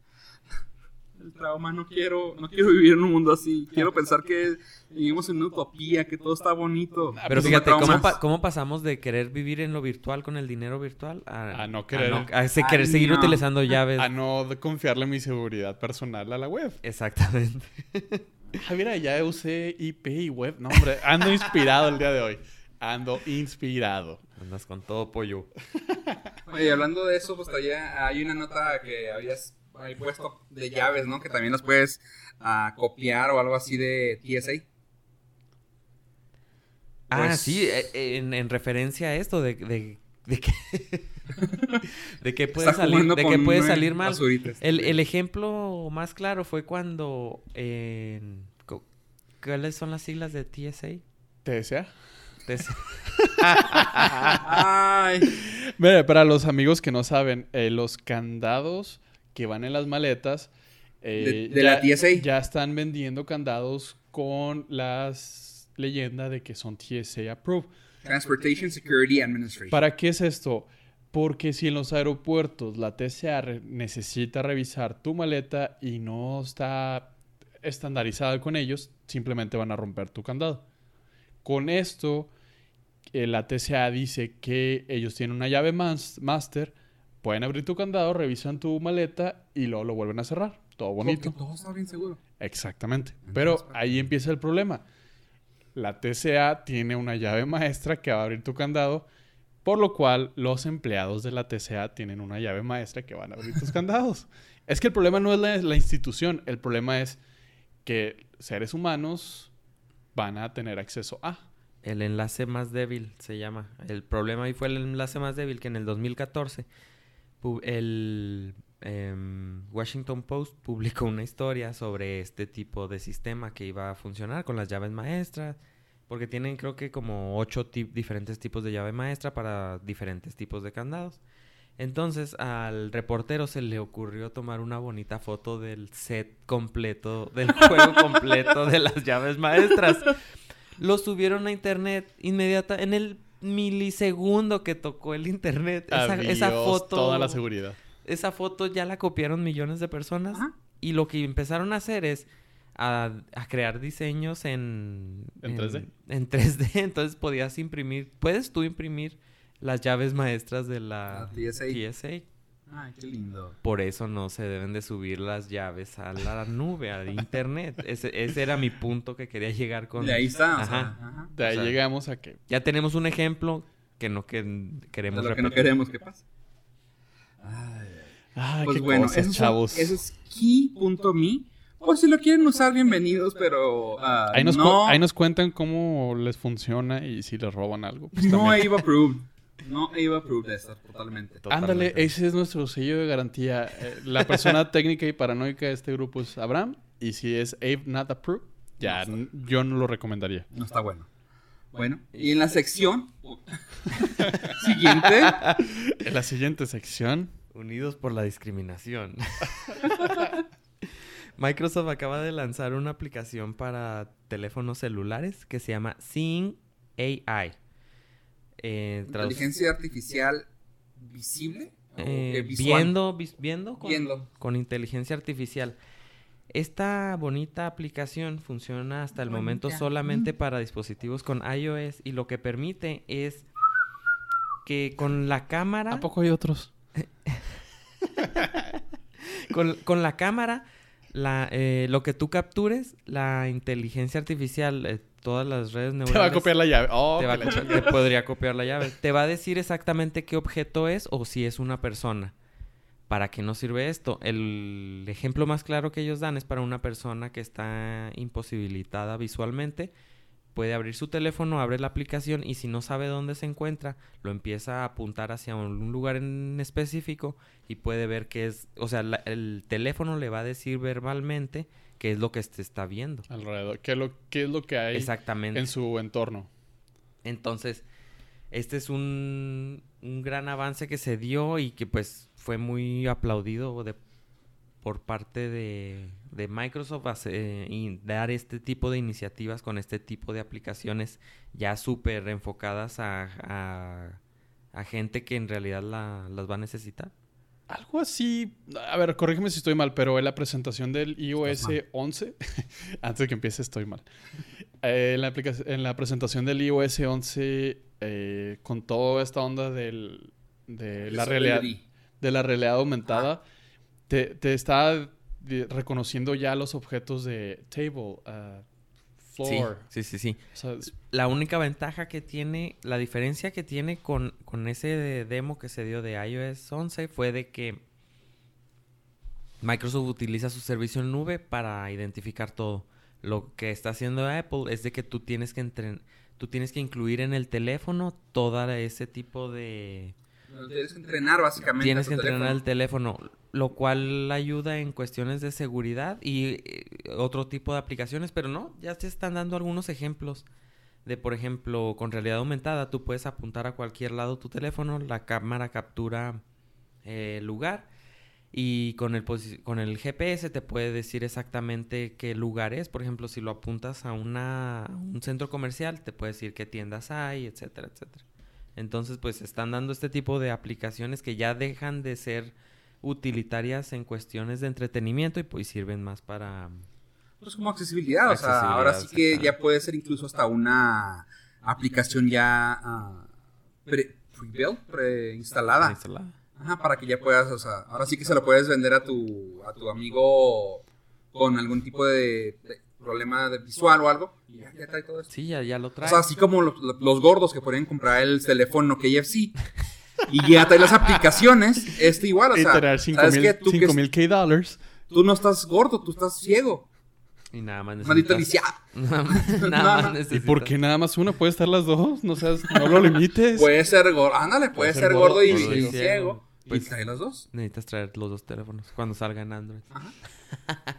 Speaker 2: El trauma, no quiero, no quiero vivir en un mundo así. Quiero pensar que vivimos en una utopía, que todo está bonito.
Speaker 3: Ah,
Speaker 1: Pero
Speaker 3: pues,
Speaker 2: Esos
Speaker 1: fíjate cómo,
Speaker 2: traumas.
Speaker 1: pa- cómo pasamos de querer vivir en lo virtual con el dinero virtual a,
Speaker 3: A no querer-
Speaker 1: a se-
Speaker 2: a
Speaker 1: querer seguir
Speaker 2: no. [LAUGHS]
Speaker 1: utilizando llaves.
Speaker 3: A no de- confiarle mi seguridad personal a la web.
Speaker 1: Exactamente.
Speaker 3: Ah, mira, ya usé IP y web. No, hombre, ando inspirado el día de hoy. Ando inspirado.
Speaker 1: Andas con todo pollo.
Speaker 2: Oye, hablando de eso, pues traía, hay una nota que habías ahí puesto de llaves, ¿no? Que también las puedes ah, copiar o algo así de TSA.
Speaker 1: Ah,
Speaker 3: Pues-
Speaker 1: sí, eh, eh, en, en referencia a esto de, de, de que [LAUGHS] de que puede
Speaker 2: Está
Speaker 1: salir,
Speaker 2: jugando
Speaker 1: de que
Speaker 2: con
Speaker 1: puede
Speaker 2: nueve
Speaker 1: salir mal.
Speaker 2: basuritas.
Speaker 1: El, el ejemplo más claro fue cuando eh, co- ¿cuáles son las siglas de TSA?
Speaker 3: ¿Te desea?
Speaker 1: TSA. Ah.
Speaker 2: Ay,
Speaker 3: Mira, para los amigos que no saben, eh, los candados que van en las maletas. eh,
Speaker 2: De- de la TSA.
Speaker 3: Ya están vendiendo candados con las leyenda de que son TSA approved.
Speaker 2: Transportation Security Administration.
Speaker 3: ¿Para qué es esto? Porque si en los aeropuertos la TSA re- necesita revisar tu maleta y no está estandarizada con ellos, simplemente van a romper tu candado. Con esto, eh, la TSA dice que ellos tienen una llave mas- master, pueden abrir tu candado, revisan tu maleta y luego lo vuelven a cerrar. Todo bonito.
Speaker 2: Porque Todo está bien seguro.
Speaker 3: Exactamente. Pero ahí empieza el problema. La TCA tiene una llave maestra que va a abrir tu candado, por lo cual los empleados de la TCA tienen una llave maestra que van a abrir
Speaker 1: [LAUGHS]
Speaker 3: tus candados. Es que el problema no es la, la institución, el problema es que seres humanos van a tener acceso a.
Speaker 1: El enlace más débil se llama. El problema ahí fue el enlace más débil que en el 2014 pu- el em, Washington Post publicó una historia sobre este tipo de sistema que iba a funcionar con las llaves maestras, porque tienen creo que como ocho ti- diferentes tipos de llave maestra para diferentes tipos de candados. Entonces al reportero se le ocurrió tomar una bonita foto del set completo,
Speaker 3: [LAUGHS]
Speaker 1: del juego completo de las llaves maestras lo subieron a internet inmediata en el milisegundo que tocó el internet. Esa, esa
Speaker 3: Adiós
Speaker 1: foto.
Speaker 3: Toda la seguridad.
Speaker 1: Esa foto ya la copiaron millones de personas.
Speaker 2: Ajá.
Speaker 1: Y lo que empezaron a hacer es a, a crear diseños en,
Speaker 3: ¿En 3D?
Speaker 1: En 3D, [LAUGHS] entonces podías imprimir, puedes tú imprimir las llaves maestras de la,
Speaker 2: La TSA.
Speaker 1: TSA.
Speaker 2: Ay, qué lindo.
Speaker 1: Por eso no se deben de subir las llaves a la nube,
Speaker 2: [LAUGHS]
Speaker 1: al internet. Ese, ese era mi punto que quería llegar con...
Speaker 2: Y ahí está. o sea,
Speaker 1: Ajá.
Speaker 2: ajá.
Speaker 3: De ahí
Speaker 1: O sea,
Speaker 3: llegamos a que
Speaker 1: Ya tenemos un ejemplo que no que queremos
Speaker 2: De lo que no
Speaker 1: repetir.
Speaker 2: queremos que pase. Ay,
Speaker 3: Ay,
Speaker 2: pues
Speaker 3: "Ah, qué
Speaker 2: bueno,
Speaker 3: cosas,
Speaker 2: eso,
Speaker 3: chavos.
Speaker 2: Es, eso es key.me. Por si lo quieren usar, bienvenidos, pero ah,
Speaker 3: ahí, nos cu-
Speaker 2: no,
Speaker 3: ahí nos cuentan cómo les funciona y si les roban algo. pues
Speaker 2: no
Speaker 3: también.
Speaker 2: AVE approved. No AVE approved de estas, totalmente.
Speaker 3: Ándale,
Speaker 1: Totalmente.
Speaker 3: ese es nuestro sello de garantía. Eh, La persona técnica y paranoica de este grupo es Abraham. Y si es Abe Not Approved, ya n- yo no lo recomendaría.
Speaker 2: No está bueno. Bueno, y en la sección [LAUGHS]
Speaker 3: [LAUGHS]
Speaker 2: siguiente,
Speaker 3: En la siguiente sección.
Speaker 1: Unidos por la discriminación. [LAUGHS] Microsoft acaba de lanzar una aplicación para teléfonos celulares que se llama Seeing AI. Eh, traduc-
Speaker 2: inteligencia artificial visible. o
Speaker 1: eh,
Speaker 2: que visual.
Speaker 1: viendo, vis- viendo, con,
Speaker 2: Viendo.
Speaker 1: con inteligencia artificial. Esta bonita aplicación funciona hasta el momento
Speaker 2: Bonita.
Speaker 1: solamente para dispositivos con iOS y lo que permite es que con la cámara...
Speaker 3: ¿A poco hay otros?
Speaker 1: [LAUGHS] con, con la cámara, la, eh, lo que tú captures, la inteligencia artificial, eh, todas las redes neurales...
Speaker 3: Te va a copiar la llave. Oh,
Speaker 1: te va a
Speaker 3: que la
Speaker 1: copiar-
Speaker 3: ch-
Speaker 1: te podría copiar la llave. Te va a decir exactamente qué objeto es o si es una persona. ¿Para qué nos sirve esto? El ejemplo más claro que ellos dan es para una persona que está imposibilitada visualmente. Puede abrir su teléfono, abre la aplicación y si no sabe dónde se encuentra, lo empieza a apuntar hacia un un lugar en específico y puede ver qué es. O sea, la- el teléfono le va a decir verbalmente qué es lo que se está viendo.
Speaker 3: Alrededor. ¿Qué, es lo, ¿Qué es lo que hay
Speaker 1: Exactamente.
Speaker 3: en su entorno?
Speaker 1: Entonces, este es un, un gran avance que se dio y que pues fue muy aplaudido de- por parte de, de Microsoft hace- y dar este tipo de iniciativas con este tipo de aplicaciones ya súper enfocadas a, a- a gente que en realidad la- las va a necesitar.
Speaker 3: Algo así. A ver, corrígeme si estoy mal, pero en la presentación del iOS
Speaker 2: Estás mal.
Speaker 3: 11, [LAUGHS] antes de que empiece, estoy mal. Eh, en, la aplica- en la presentación del iOS 11, eh, con toda esta onda del, de la
Speaker 2: Eso
Speaker 3: realidad.
Speaker 2: le di.
Speaker 3: de la realidad aumentada te, te está di- reconociendo ya los objetos de table, ah, floor.
Speaker 1: Sí, sí, sí, sí.
Speaker 3: O sea, es-
Speaker 1: La única ventaja que tiene, la diferencia que tiene con, con ese de- demo que se dio de iOS 11 fue de que Microsoft utiliza su servicio en nube para identificar todo. Lo que está haciendo Apple es de que tú tienes que entren- tú tienes que incluir en el teléfono todo ese tipo de
Speaker 2: Lo Tienes que entrenar básicamente.
Speaker 1: tienes
Speaker 2: tu
Speaker 1: que entrenar
Speaker 2: teléfono.
Speaker 1: el teléfono, lo cual ayuda en cuestiones de seguridad y eh, otro tipo de aplicaciones, pero no, ya se están dando algunos ejemplos de, por ejemplo, con realidad aumentada, tú puedes apuntar a cualquier lado tu teléfono, la cámara captura eh, el lugar y con el, posi- con el GPS te puede decir exactamente qué lugar es, por ejemplo, si lo apuntas a, una, a un centro comercial, te puede decir qué tiendas hay, etcétera, etcétera. Entonces, pues están dando este tipo de aplicaciones que ya dejan de ser utilitarias en cuestiones de entretenimiento y pues sirven más para...
Speaker 2: Pues como accesibilidad, o sea,
Speaker 1: Accesibilidad,
Speaker 2: ahora sí que ya
Speaker 1: exactamente.
Speaker 2: puede ser incluso hasta una aplicación ya ah, pre- pre-built, preinstalada.
Speaker 1: pues, instalar.
Speaker 2: Ajá, para que ya puedas, o sea, ahora sí que se lo puedes vender a tu, a tu amigo con algún tipo de, de problema de visual o algo. Y ya, ya trae todo esto.
Speaker 1: Sí, ya, ya lo
Speaker 2: O
Speaker 1: trae.
Speaker 2: sea, así como los, los gordos que podían comprar el teléfono KFC y ya trae las aplicaciones, este igual, o
Speaker 3: y
Speaker 2: sea,
Speaker 3: tener
Speaker 2: ¿sabes qué?
Speaker 3: 5000
Speaker 2: Tú, que-
Speaker 3: 5000 K dólares.
Speaker 2: tú no estás gordo, tú estás ciego.
Speaker 1: y nada más
Speaker 2: Maldito
Speaker 1: necesitas- [LAUGHS]
Speaker 2: lisiado.
Speaker 1: Nada
Speaker 2: [LAUGHS]
Speaker 1: más- nada
Speaker 2: Nada
Speaker 1: más
Speaker 2: más.
Speaker 1: necesitas-
Speaker 3: ¿Y por qué nada más una? ¿Puede estar las dos? No seas,
Speaker 2: [LAUGHS]
Speaker 3: no lo limites.
Speaker 2: Puede ser gordo, ándale, puede ser gordo y,
Speaker 1: Pues, gordo y
Speaker 2: y
Speaker 1: ciego.
Speaker 2: ciego.
Speaker 1: Pues-
Speaker 2: y trae
Speaker 1: [LAUGHS]
Speaker 2: los dos.
Speaker 1: Necesitas traer los dos teléfonos cuando salga en Android.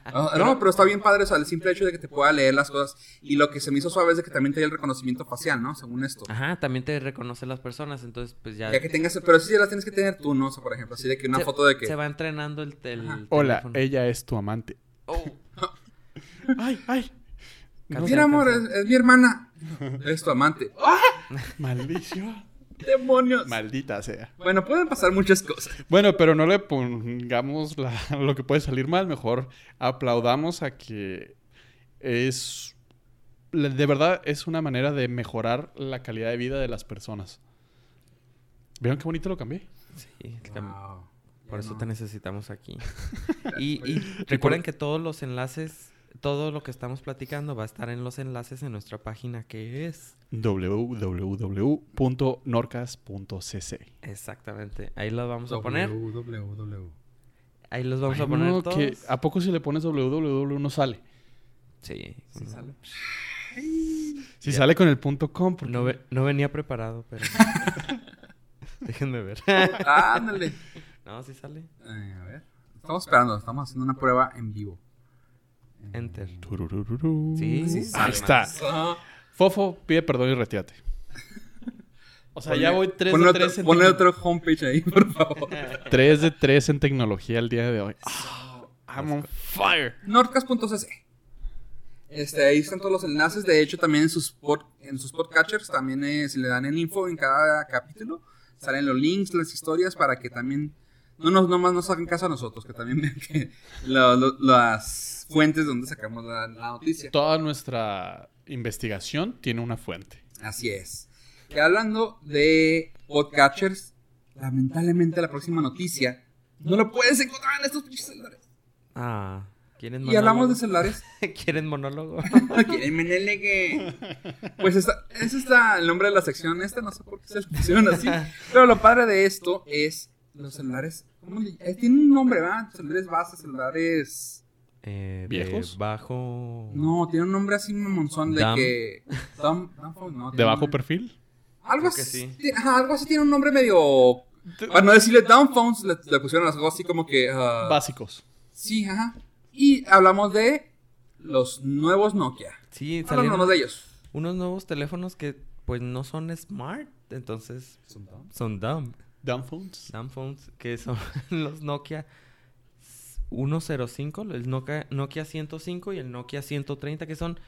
Speaker 2: Ah, no, pero está bien padre, o sea, el simple hecho de que te pueda leer las cosas. Y lo que se me hizo suave es de que también trae el reconocimiento facial, ¿no? Según esto.
Speaker 1: Ajá, también te reconoce las personas, entonces pues Ah, ya...
Speaker 2: Ya que tengas, pero sí las tienes que tener tú, ¿no? O sea, por ejemplo, así de que una
Speaker 1: se-
Speaker 2: foto de que.
Speaker 1: Se va entrenando el, tel-
Speaker 2: Ajá.
Speaker 3: Hola, eh,
Speaker 1: teléfono.
Speaker 3: ella es tu amante.
Speaker 1: Oh,
Speaker 3: Ay, ay.
Speaker 1: Cancela,
Speaker 2: Mira, amor,
Speaker 1: cancela. [LAUGHS]
Speaker 2: es, es mi hermana. Es tu amante.
Speaker 3: [LAUGHS] Maldición.
Speaker 2: ¡Demonios!
Speaker 3: Maldita sea.
Speaker 2: Bueno, pueden pasar
Speaker 1: [LAUGHS]
Speaker 2: muchas cosas.
Speaker 3: Bueno, pero no le pongamos la- lo que puede salir mal. Mejor aplaudamos a que es... la- De verdad es una manera de mejorar la calidad de vida de las personas. ¿Vieron qué bonito lo cambié?
Speaker 1: Sí, el cam-
Speaker 2: Ya
Speaker 1: Por eso
Speaker 2: no.
Speaker 1: te necesitamos
Speaker 2: [LAUGHS]
Speaker 1: aquí. y, y recuerden que todos los enlaces, todo lo que estamos platicando va a estar en los enlaces en nuestra página que es.
Speaker 3: www.norcas.cc
Speaker 1: Exactamente. Ahí los vamos a poner. Ahí los vamos
Speaker 3: Ay,
Speaker 1: a poner
Speaker 3: no,
Speaker 1: todos.
Speaker 3: que ¿A poco si le pones www no sale?
Speaker 1: Sí.
Speaker 2: Sí
Speaker 1: no-
Speaker 2: sale.
Speaker 3: Si sale con el punto .com, porque
Speaker 1: No, ve- no venía preparado,
Speaker 2: [LAUGHS]
Speaker 1: pero... Déjenme ver.
Speaker 2: Ándale.
Speaker 1: no, sí sale.
Speaker 2: Eh, a ver. Estamos esperando, estamos haciendo una prueba en vivo. Mm.
Speaker 1: Enter.
Speaker 3: Tururururu.
Speaker 1: Sí, sí, sí.
Speaker 3: Ahí está.
Speaker 2: Ah,
Speaker 3: Fofo, pide perdón y retírate. [LAUGHS] O sea, ya
Speaker 2: ponle-
Speaker 3: voy 3
Speaker 2: ponle
Speaker 3: de
Speaker 2: otro-
Speaker 3: 3 en
Speaker 2: Ponle
Speaker 3: tecno-
Speaker 2: otro homepage ahí, [LAUGHS] por
Speaker 3: [LAUGHS]
Speaker 2: favor.
Speaker 3: 3 de 3 en tecnología el día de hoy. Ah, I'm on fire.
Speaker 2: Nordcast.cc. Este, ahí están todos los enlaces. De hecho, también en sus, pod- en sus podcatchers, también eh, si le dan el info en cada capítulo, salen los links, las historias, para que también no nos, nomás nos hagan caso a nosotros, que también [LAUGHS] vean que lo- lo- las fuentes donde sacamos la, la noticia.
Speaker 3: Toda nuestra investigación tiene una fuente.
Speaker 2: Así es. Y hablando de podcatchers, lamentablemente la próxima noticia no la puedes encontrar en estos pinches celulares.
Speaker 1: Ah, ¿quieren monólogo?
Speaker 2: Y hablamos de celulares.
Speaker 1: [LAUGHS] ¿Quieren
Speaker 2: [LAUGHS]
Speaker 1: monólogo?
Speaker 2: Quieren menerle que- Pues esta, ese está el nombre de la sección esta, no sé por qué se le pusieron así.
Speaker 1: [LAUGHS]
Speaker 2: Pero lo padre de esto es los celulares. ¿cómo le- eh, tiene un nombre, ¿verdad? Celulares base, celulares.
Speaker 1: Eh, de
Speaker 3: ¿Viejos?
Speaker 1: Bajo...
Speaker 2: No, tiene un nombre así mamonzón de
Speaker 1: Dumb.
Speaker 2: que. Dumb- dumb phone, no,
Speaker 3: De
Speaker 2: tiene
Speaker 3: bajo
Speaker 2: un-
Speaker 3: perfil.
Speaker 2: Algo
Speaker 1: Creo que
Speaker 2: así.
Speaker 1: sí.
Speaker 2: ti- ajá, algo así tiene un nombre medio. Para no decirle downphones, le, le pusieron algo así como que. ah,
Speaker 3: Básicos.
Speaker 2: sí, ajá. Y hablamos de los nuevos Nokia.
Speaker 1: Sí,
Speaker 2: Hablamos
Speaker 1: salieron
Speaker 2: nomás de ellos.
Speaker 1: unos nuevos teléfonos que pues no son smart, entonces son dumb.
Speaker 3: Dumbphones.
Speaker 1: Dumb phones que son [LAUGHS] los Nokia 105, el Nokia, Nokia 105 y el Nokia 130 que son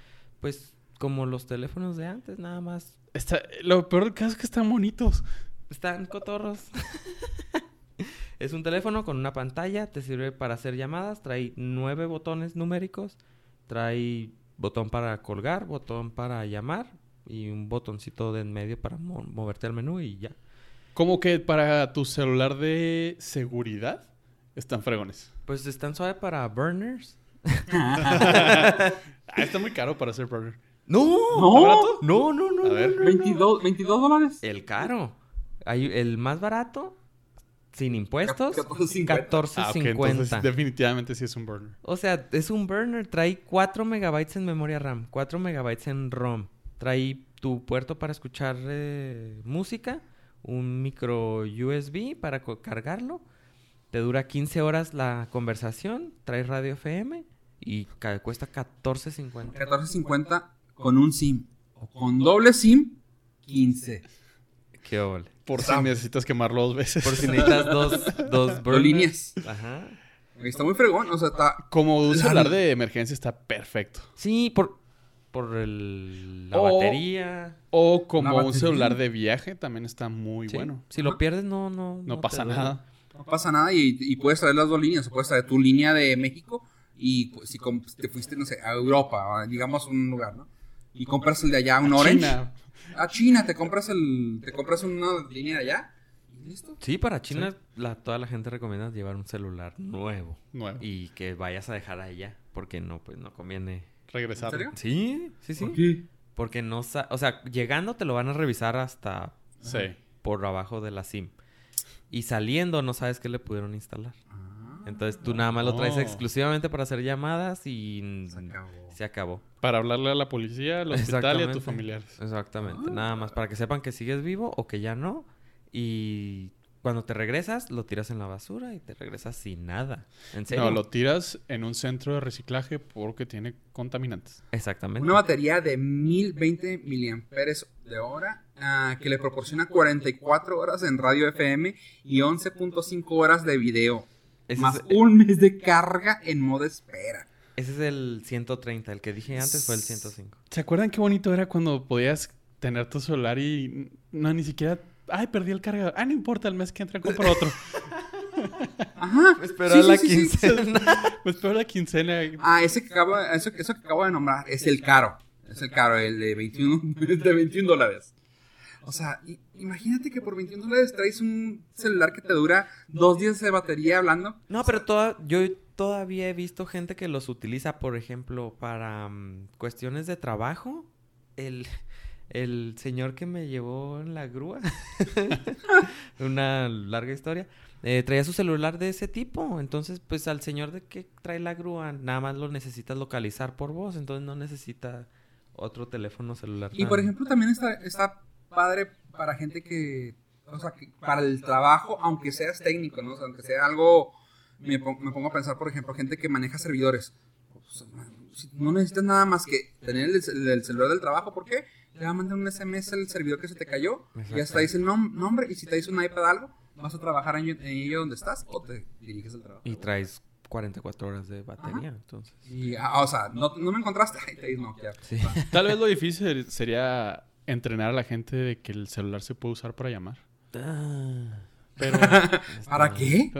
Speaker 1: pues como los teléfonos de antes nada más.
Speaker 3: Está- lo peor del caso es que están bonitos.
Speaker 1: Están cotorros. [LAUGHS] es un teléfono con una pantalla, te sirve para hacer llamadas, trae nueve botones numéricos, trae botón para colgar, botón para llamar y un botoncito de en medio para mo- moverte al menú y ya.
Speaker 3: Como que para tu celular de seguridad están fregones.
Speaker 1: Pues están suave para burners.
Speaker 3: Ah, está muy caro para ser burger.
Speaker 1: No,
Speaker 2: ¿No?
Speaker 1: barato? no, no, no.
Speaker 3: A
Speaker 1: no,
Speaker 3: ver.
Speaker 1: no, no.
Speaker 2: 22, 22 dólares.
Speaker 1: El caro. Hay el más barato, sin impuestos,
Speaker 2: 14.50.
Speaker 1: 14.50.
Speaker 3: Ah, ok, entonces definitivamente sí es un burner.
Speaker 1: O sea, es un burner, trae 4 megabytes en memoria RAM, 4 megabytes en ROM, trae tu puerto para escuchar eh, música, un micro USB para co- cargarlo, te dura 15 horas la conversación, trae radio FM y ca- cuesta 14.50.
Speaker 2: 14.50 con un SIM. O con doble SIM, 15.
Speaker 1: Qué ole.
Speaker 3: Por si necesitas quemarlo dos veces.
Speaker 1: Por si necesitas dos, dos
Speaker 2: Dos
Speaker 1: burners.
Speaker 2: líneas.
Speaker 1: Ajá.
Speaker 2: Está muy fregón. O sea, está.
Speaker 3: Como un celular de emergencia está perfecto.
Speaker 1: Sí, por, por el, la
Speaker 3: O-
Speaker 1: batería.
Speaker 3: O
Speaker 2: Una
Speaker 3: como un
Speaker 2: batería.
Speaker 3: celular de viaje también está muy
Speaker 1: Sí,
Speaker 3: bueno.
Speaker 1: Si lo pierdes, no, no.
Speaker 3: No,
Speaker 1: te
Speaker 3: pasa
Speaker 1: duele.
Speaker 3: nada.
Speaker 2: No pasa nada y, y puedes traer las dos líneas. O puedes traer tu línea de México y pues, si com- te fuiste, no sé, a Europa, a, digamos un lugar, ¿no? Y compras el de allá, un Orange.
Speaker 3: China.
Speaker 2: A China, te compras el. Te compras una línea de allá. Y listo.
Speaker 1: Sí, para China la, toda la gente recomienda llevar un celular nuevo
Speaker 3: Nuevo.
Speaker 1: y que vayas a dejar allá, porque no, pues no conviene.
Speaker 3: Regresar.
Speaker 2: ¿En serio?
Speaker 1: Sí, sí, sí. Porque no, sa- o sea, llegando te lo van a revisar hasta
Speaker 3: Sí.
Speaker 1: por abajo de la SIM. Y saliendo no sabes qué le pudieron instalar.
Speaker 2: Ah,
Speaker 1: Entonces tú nada más lo traes
Speaker 3: no.
Speaker 1: exclusivamente para hacer llamadas y
Speaker 2: se acabó.
Speaker 1: se acabó.
Speaker 3: Para hablarle a la policía, al hospital y a tus
Speaker 1: Exactamente.
Speaker 3: familiares.
Speaker 1: Exactamente, nada más para que sepan que sigues vivo o que ya no. Y cuando te regresas, lo tiras en la basura y te regresas sin nada. En serio.
Speaker 3: No, lo tiras en un centro de reciclaje porque tiene contaminantes.
Speaker 1: Exactamente.
Speaker 2: Una batería de 1020 miliamperes de hora ah, que le proporciona 44 horas en radio FM y 11.5 horas de video.
Speaker 1: Ese,
Speaker 2: más
Speaker 1: es,
Speaker 2: un mes de carga en modo espera.
Speaker 1: ese es el 130, el que dije antes fue el 105.
Speaker 3: ¿Se acuerdan qué bonito era cuando podías tener tu celular y no ni siquiera ay, perdí el cargador. Ah, no importa, el mes que entra compro [LAUGHS] otro.
Speaker 2: Ajá.
Speaker 1: Espera
Speaker 2: Sí, sí,
Speaker 1: la
Speaker 2: sí,
Speaker 1: [LAUGHS]
Speaker 2: sí.
Speaker 1: quincena.
Speaker 3: Me espero la quincena.
Speaker 2: Ah, ese que acabo, eso, eso que acabo de nombrar es el caro. Es el caro, el de 21, el [LAUGHS] de 21 dólares. O sea, i- imagínate que por 21 dólares traes un celular que te dura dos días de batería hablando.
Speaker 1: No, pero toda, yo todavía he visto gente que los utiliza, por ejemplo, para mm, cuestiones de trabajo. El, el señor que me llevó en la grúa, [LAUGHS] una larga historia, eh, traía su celular de ese tipo. Entonces, pues al señor de que trae la grúa, nada más lo necesitas localizar por voz, entonces no necesita otro teléfono celular.
Speaker 2: Y
Speaker 1: tan-
Speaker 2: por ejemplo, también está, está padre para gente que, o sea, que para el trabajo, aunque seas técnico, ¿no? O sea, aunque sea algo, me, pon- me pongo a pensar, por ejemplo, gente que maneja servidores. O sea, si no necesitas nada más que tener el, cel- el celular del trabajo, ¿por qué? Le va a mandar un SMS al servidor que se te cayó, y ya
Speaker 1: Exacto.
Speaker 2: está, dice el nom- nombre, y si te dice un iPad algo, vas a trabajar en, en ello donde estás o te diriges al trabajo.
Speaker 1: Y traes 44 horas de batería, entonces.
Speaker 2: Y, ah, o sea, no, no me encontraste, [LAUGHS] ahí te dice, no, ya.
Speaker 1: Sí.
Speaker 3: Tal vez lo difícil sería entrenar a la gente de que el celular se puede usar para llamar.
Speaker 1: Ah,
Speaker 3: Pero,
Speaker 2: [LAUGHS] ¿Para qué?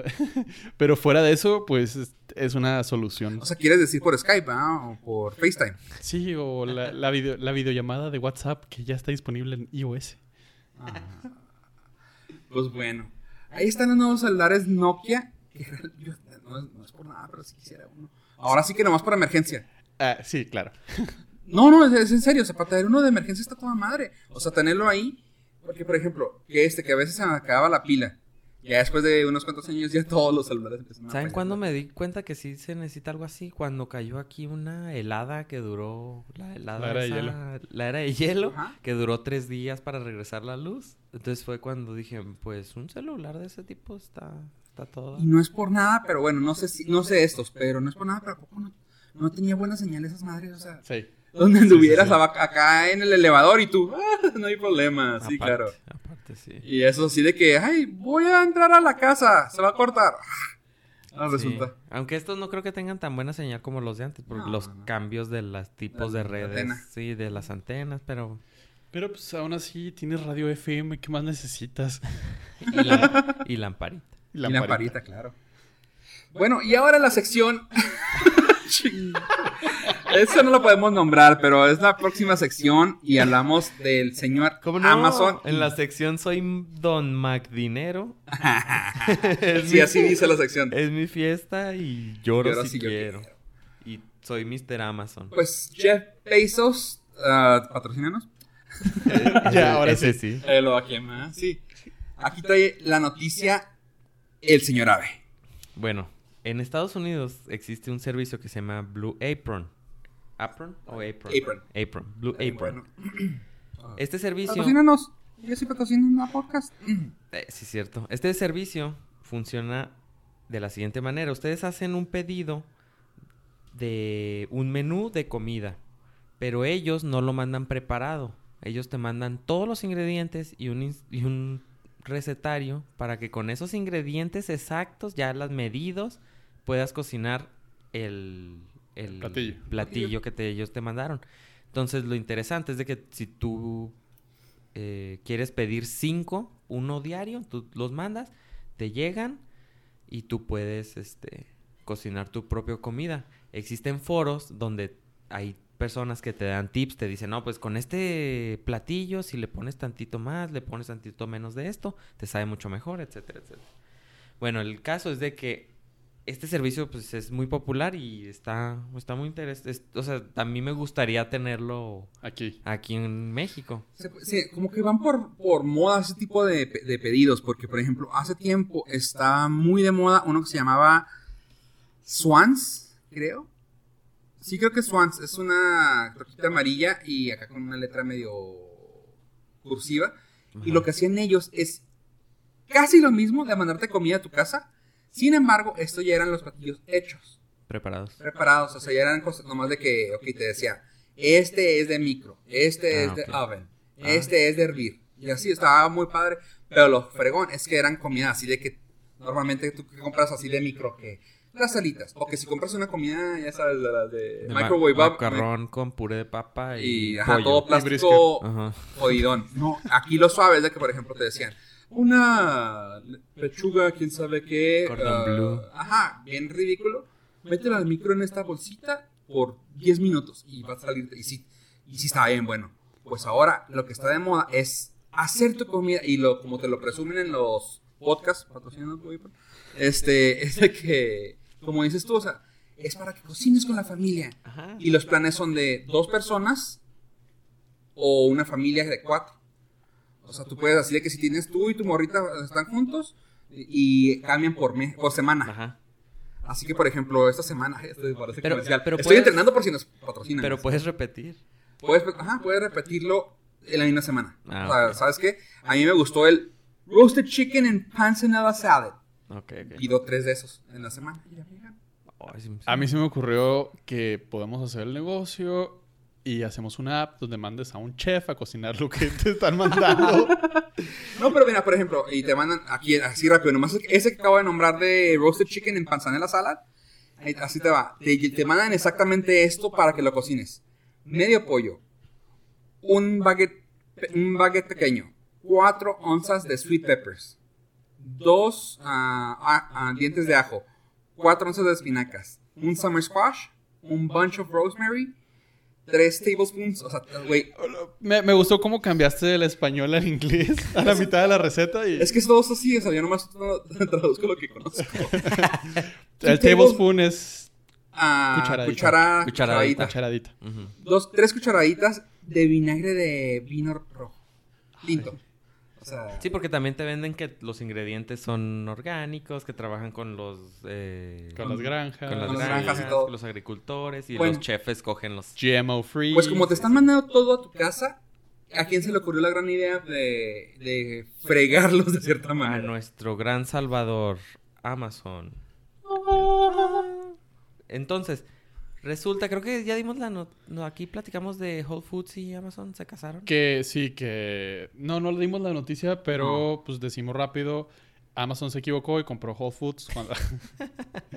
Speaker 3: pero fuera de eso, pues es- es una solución.
Speaker 2: O sea, quieres decir por Skype, ah? O por FaceTime.
Speaker 3: Sí, o la, la, video- la videollamada de WhatsApp que ya está disponible en iOS.
Speaker 2: Pues bueno. Ahí están los nuevos celulares Nokia. Que real- yo- no, es, no es por nada, pero si quisiera uno. Ahora sí que nomás por emergencia.
Speaker 3: Ah, sí, claro.
Speaker 2: No, no, es, es en serio. O sea, para tener uno de emergencia está toda madre. O sea, tenerlo ahí. Porque, por ejemplo, que este, que a veces se me acababa la pila. Ya después de unos cuantos años, ya todos los celulares empezaron a
Speaker 1: ¿Saben
Speaker 2: fallar.
Speaker 1: cuándo me di cuenta que sí se necesita algo así? Cuando cayó aquí una helada que duró. La helada.
Speaker 3: La era de
Speaker 1: esa-
Speaker 3: hielo.
Speaker 1: La era de hielo,
Speaker 2: Ajá.
Speaker 1: que duró tres días para regresar la luz. Entonces fue cuando dije, pues un celular de ese tipo está, está todo.
Speaker 2: Y no es por nada, pero bueno, no sé si, no sé estos, pero no es por nada, pero ¿a poco no, no tenía buenas señales esas madres? O sea,
Speaker 3: Sí.
Speaker 2: donde
Speaker 3: sí,
Speaker 2: anduvieras
Speaker 3: sí.
Speaker 2: abac- acá en el elevador y tú, [LAUGHS] "Ah, no hay problema. Sí,
Speaker 1: Aparte-
Speaker 2: claro.
Speaker 1: Aparte, sí.
Speaker 2: Y eso sí de que, ay, voy a entrar a la casa, se va
Speaker 1: [LAUGHS]
Speaker 2: a cortar. Ah,
Speaker 1: Sí.
Speaker 2: resulta.
Speaker 1: Aunque estos no creo que tengan tan buena señal como los de antes, porque
Speaker 2: No,
Speaker 1: los
Speaker 2: no, no.
Speaker 1: cambios de los tipos
Speaker 2: La-
Speaker 1: de
Speaker 2: la
Speaker 1: redes,
Speaker 2: antena.
Speaker 1: sí, de las antenas,
Speaker 2: [LAUGHS]
Speaker 1: pero
Speaker 3: Pero pues aún así tienes radio FM, ¿qué más necesitas?
Speaker 1: y, la, y lamparita.
Speaker 2: y lamparita, claro. Bueno, y ahora la sección. [LAUGHS] Ching. eso no lo podemos nombrar, pero es la próxima sección y hablamos del señor Amazon.
Speaker 1: En la sección soy Don
Speaker 2: [LAUGHS]
Speaker 1: Macdinero. Es
Speaker 2: Sí,
Speaker 1: mi-
Speaker 2: así dice la sección.
Speaker 1: Es mi fiesta y lloro,
Speaker 2: Lloro
Speaker 1: si,
Speaker 2: si yo
Speaker 1: quiero. Y soy Mr. Amazon.
Speaker 2: [LAUGHS] Pues Jeff Bezos, ah, patrocínanos.
Speaker 1: Ese-
Speaker 3: Ya, ahora
Speaker 1: ese
Speaker 2: Eh, lo aquí más, sí. Aquí trae la noticia el señor Ave.
Speaker 1: Bueno, en Estados Unidos existe un servicio que se llama Blue Apron. ¿Apron o Apron?
Speaker 2: Apron.
Speaker 1: Blue Apron.
Speaker 2: Bueno,
Speaker 1: Este
Speaker 2: Ah, pues
Speaker 1: servicio...
Speaker 2: patrocínanos. Yo sí patrocino una podcast.
Speaker 1: Eh, sí, cierto. Este servicio funciona de la siguiente manera. Ustedes hacen un pedido de un menú de comida, pero ellos no lo mandan preparado. Ellos te mandan todos los ingredientes y un, ins- y un recetario para que con esos ingredientes exactos, ya las medidos, puedas cocinar el, el
Speaker 3: Platillo.
Speaker 1: platillo que te- ellos te mandaron. Entonces, lo interesante es de que si tú eh, quieres pedir cinco, uno diario, tú los mandas, te llegan y tú puedes este, cocinar tu propia comida. Existen foros donde hay personas que te dan tips, te dicen, no, pues con este platillo, si le pones tantito más, le pones tantito menos de esto, te sabe mucho mejor, etcétera, etcétera. Bueno, el caso es de que este servicio pues es muy popular y está, está muy interesante. O sea, a mí me gustaría tenerlo
Speaker 3: Aquí.
Speaker 1: aquí en México.
Speaker 2: Se- se- como que van por, por moda ese tipo de, pe- de pedidos, porque por ejemplo, hace tiempo estaba muy de moda uno que se llamaba Swans, creo. Sí, creo que Swans es una troquita amarilla y acá con una letra medio cursiva. Y
Speaker 1: Ajá.
Speaker 2: lo que hacían ellos es casi lo mismo de mandarte comida a tu casa. Sin embargo, esto ya eran los platillos hechos
Speaker 1: Preparados.
Speaker 2: preparados, o sea, ya eran cosas nomás de que, ok, te decía, este es de micro,
Speaker 1: Ah,
Speaker 2: este es de
Speaker 1: ok.
Speaker 2: oven,
Speaker 1: Ah.
Speaker 2: este es de hervir. Y así estaba muy padre, pero lo fregón es que eran comida así de que normalmente tú que compras así de micro que las salitas. O que si compras una comida, ya sabes, de las de,
Speaker 1: De ma-
Speaker 2: Eh, microwave up,
Speaker 1: Macarrón con puré de papa y,
Speaker 2: y ajá,
Speaker 1: pollo.
Speaker 2: todo
Speaker 3: brisket.
Speaker 2: plástico
Speaker 1: Ajá.
Speaker 2: jodidón. No, aquí lo suave es de que, por ejemplo, te decían una pechuga, quién sabe qué.
Speaker 1: Cordon
Speaker 2: ah,
Speaker 1: bleu.
Speaker 2: Ajá, bien ridículo. Métela al micro en esta bolsita por 10 minutos y va a salir. Y sí, y sí está bien, bueno. Pues ahora lo que está de moda es hacer tu comida y lo como te lo presumen en los podcasts, patrocinando, güey, pero, este, [LAUGHS] es de que, como dices tú, o sea, es para que cocines con la familia.
Speaker 1: Ajá.
Speaker 2: Y los planes son de dos personas o una familia de cuatro. O sea, tú puedes así de que si tienes tú y tu morrita están juntos y y cambian por mes, por semana.
Speaker 1: Ajá.
Speaker 2: Así que, por ejemplo, esta semana [LAUGHS] este parece
Speaker 1: Pero-
Speaker 2: comercial.
Speaker 1: pero
Speaker 2: Estoy
Speaker 1: puedes-
Speaker 2: entrenando por si nos patrocinan.
Speaker 1: Pero puedes repetir.
Speaker 2: puedes, ajá, puedes repetirlo en la misma semana.
Speaker 1: Ah,
Speaker 2: o sea,
Speaker 1: ok.
Speaker 2: ¿sabes qué? A mí me gustó el roasted chicken and panzanella salad.
Speaker 1: Ok, ok.
Speaker 2: Pido tres de esos en la semana. Y ya llegan.
Speaker 1: Ay, sí, sí.
Speaker 3: A mí se me ocurrió que podemos hacer el negocio y hacemos una app donde mandes a un chef a cocinar lo que te están mandando. [LAUGHS]
Speaker 2: No, pero mira, por ejemplo, y te mandan aquí así rápido, nomás ese que acabo de nombrar de roasted chicken en panzanella salad, ahí- así te va. Te, te mandan exactamente esto para que lo cocines. Medio pollo, un baguette, pe- un baguette pequeño, cuatro onzas de sweet peppers, dos ah, a- ah, dientes de ajo, cuatro onzas de espinacas, un summer squash, un bunch of rosemary, tres tablespoons, o sea, güey,
Speaker 3: me, me gustó cómo cambiaste del español al inglés a la mitad de la receta y
Speaker 2: es que es todo eso así, o sea, yo nomás [LAUGHS] tra- traduzco lo que conozco. que tengo-
Speaker 3: el tablespoon es
Speaker 2: Ah,
Speaker 3: Cucharadita.
Speaker 2: cuchara-
Speaker 1: Cucharadita.
Speaker 2: cucharadita.
Speaker 3: cucharadita.
Speaker 1: Ujú.
Speaker 2: Dos, tres cucharaditas de vinagre de vino rojo. Lindo. O sea,
Speaker 1: Sí, porque también te venden que los ingredientes son orgánicos, que trabajan con los... eh,
Speaker 3: Con las granjas.
Speaker 1: con las
Speaker 2: Con las
Speaker 1: granjas,
Speaker 2: granjas y todo.
Speaker 1: con los agricultores y
Speaker 2: Bueno.
Speaker 1: los chefes cogen los...
Speaker 3: GMO free.
Speaker 2: pues como te están mandando todo a tu casa, ¿a quién se le ocurrió la gran idea de, de fregarlos de cierta
Speaker 1: A
Speaker 2: manera?
Speaker 1: nuestro gran salvador, Amazon. Entonces, resulta, creo que ya dimos la nota... aquí platicamos de Whole Foods y Amazon, ¿se casaron?
Speaker 3: Que sí, que... No, no le dimos la noticia, pero pues decimos rápido. Amazon se equivocó y compró Whole Foods. cuando- [LAUGHS]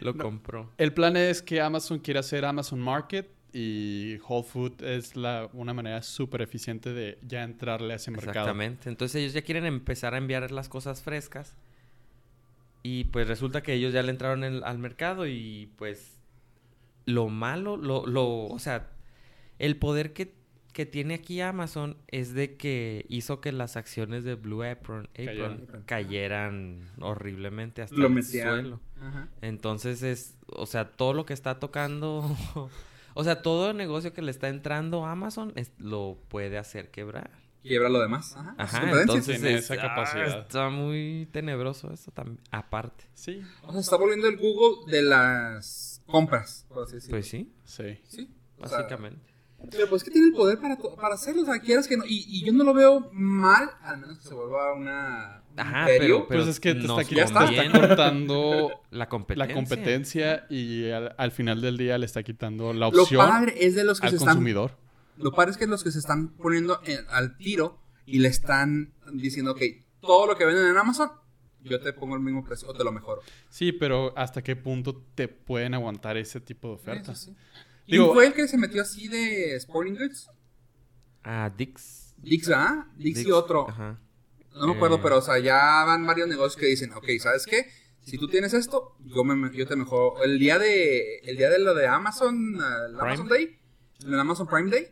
Speaker 1: Lo compró.
Speaker 3: El plan es que Amazon quiere hacer Amazon Market y Whole Food es la, una manera súper eficiente de ya entrarle a ese mercado.
Speaker 1: Exactamente. Entonces ellos ya quieren empezar a enviar las cosas frescas. Y pues resulta que ellos ya le entraron en- al mercado y pues lo malo, lo, lo, o sea, el poder que, que tiene aquí Amazon es de que hizo que las acciones de Blue Apron, Apron
Speaker 3: Cayeran.
Speaker 1: cayeran horriblemente hasta
Speaker 2: Lo
Speaker 1: el
Speaker 2: metían.
Speaker 1: suelo.
Speaker 2: Ajá.
Speaker 1: Entonces es, o sea, todo lo que está tocando, [LAUGHS] o sea, todo el negocio que le está entrando a Amazon es- lo puede hacer quebrar.
Speaker 2: Quiebra lo demás. Ajá. Sus
Speaker 1: Ajá,
Speaker 2: competencias.
Speaker 1: entonces
Speaker 3: Tiene
Speaker 1: es-
Speaker 3: esa
Speaker 1: ah,
Speaker 3: capacidad.
Speaker 1: está muy tenebroso eso también, aparte.
Speaker 3: Sí,
Speaker 2: O sea, está volviendo el Google de las compras, por así decirlo.
Speaker 1: Pues sí,
Speaker 3: sí.
Speaker 2: Sí, o sea,
Speaker 1: básicamente.
Speaker 2: Pero pues que tiene el poder para, to- para hacerlo, o sea, quieras que no. Y, y yo no lo veo mal, al menos que se vuelva una... un
Speaker 1: Ajá,
Speaker 2: imperio.
Speaker 1: pero, pero
Speaker 3: pues es que te está,
Speaker 1: nos
Speaker 3: qui- te está
Speaker 1: conviene [LAUGHS]
Speaker 3: cortando
Speaker 1: la competencia.
Speaker 3: la competencia y al, al final del día le está quitando la
Speaker 2: Lo
Speaker 3: opción
Speaker 2: padre es de los que
Speaker 3: al
Speaker 2: se están
Speaker 3: consumidor.
Speaker 2: Lo padre es que los que se están poniendo en- al tiro y le están diciendo, ok, todo lo que venden en Amazon, yo te pongo el mismo precio o te lo mejoro.
Speaker 3: Sí, pero ¿hasta qué punto te pueden aguantar ese tipo de ofertas?
Speaker 2: Eso sí.
Speaker 3: Digo-
Speaker 2: ¿Quién fue el que se metió así de Sporting Goods?
Speaker 1: Ah, Dix.
Speaker 2: Dix, ¿ah? Dix, y otro.
Speaker 1: Ajá.
Speaker 2: No me
Speaker 1: Eh.
Speaker 2: acuerdo, pero o sea, ya van varios negocios que dicen, ok, ¿sabes qué? Si tú tienes esto, yo, me, yo te mejoro. El día de, el día de lo de Amazon, ah, el
Speaker 1: Prime.
Speaker 2: Amazon Day, el Amazon Prime Day,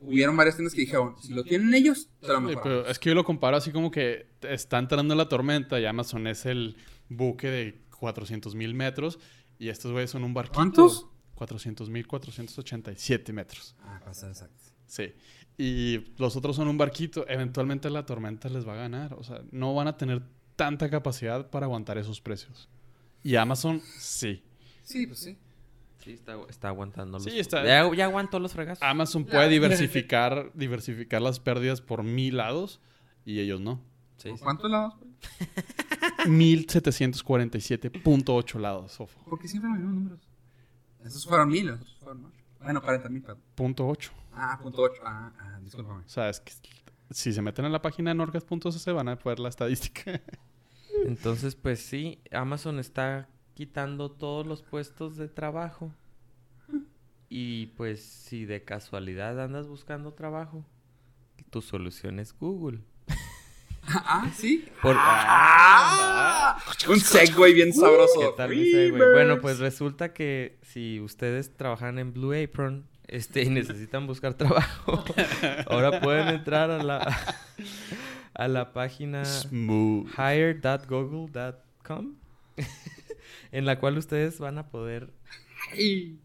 Speaker 2: hubieron varias tiendas que dijeron, si lo tienen ellos, te lo
Speaker 3: Sí,
Speaker 2: mejoramos.
Speaker 3: pero es que yo lo comparo así como que te está entrando la tormenta y Amazon es el buque de 400 mil metros y estos güeyes son un barquito.
Speaker 2: ¿Cuántos?
Speaker 3: 400 mil 487 metros.
Speaker 2: Ah, pasa exacto.
Speaker 3: Sí. Y los otros son un barquito. Eventualmente la tormenta les va a ganar. O sea, no van a tener tanta capacidad para aguantar esos precios. Y Amazon, sí.
Speaker 2: Sí, pues sí.
Speaker 1: Sí, está, está aguantando los...
Speaker 3: Sí, está-
Speaker 1: Ya, ya aguantó los fregazos.
Speaker 3: Amazon puede diversificar, diversificar las pérdidas por mil lados y ellos no.
Speaker 1: Sí, sí.
Speaker 2: ¿Cuántos lados?
Speaker 3: 1747.8 lados, ojo.
Speaker 2: ¿Por qué siempre los mismos números? Esos fueron mil, los otros fueron ocho. Bueno, 40 mil, perdón.
Speaker 3: Punto ocho.
Speaker 2: Ah, punto ocho. Ah, ah, discúlpame.
Speaker 3: O sea, es que si se meten a la página norcas.cc van a ver la estadística.
Speaker 1: Entonces, pues sí, Amazon está quitando todos los puestos de trabajo. Y pues si de casualidad andas buscando trabajo, tu solución es Google.
Speaker 2: [LAUGHS] Ah, sí.
Speaker 1: Por-
Speaker 2: ¡Ah! Un segway bien sabroso.
Speaker 1: ¿Qué tal mi segue?
Speaker 2: Freebirds.
Speaker 1: Bueno, pues resulta que si ustedes trabajan en Blue Apron este, y necesitan buscar trabajo, ahora pueden entrar a la, a la página
Speaker 3: Smooth.
Speaker 1: hire.google.com [LAUGHS] en la cual ustedes van a poder
Speaker 2: Ay.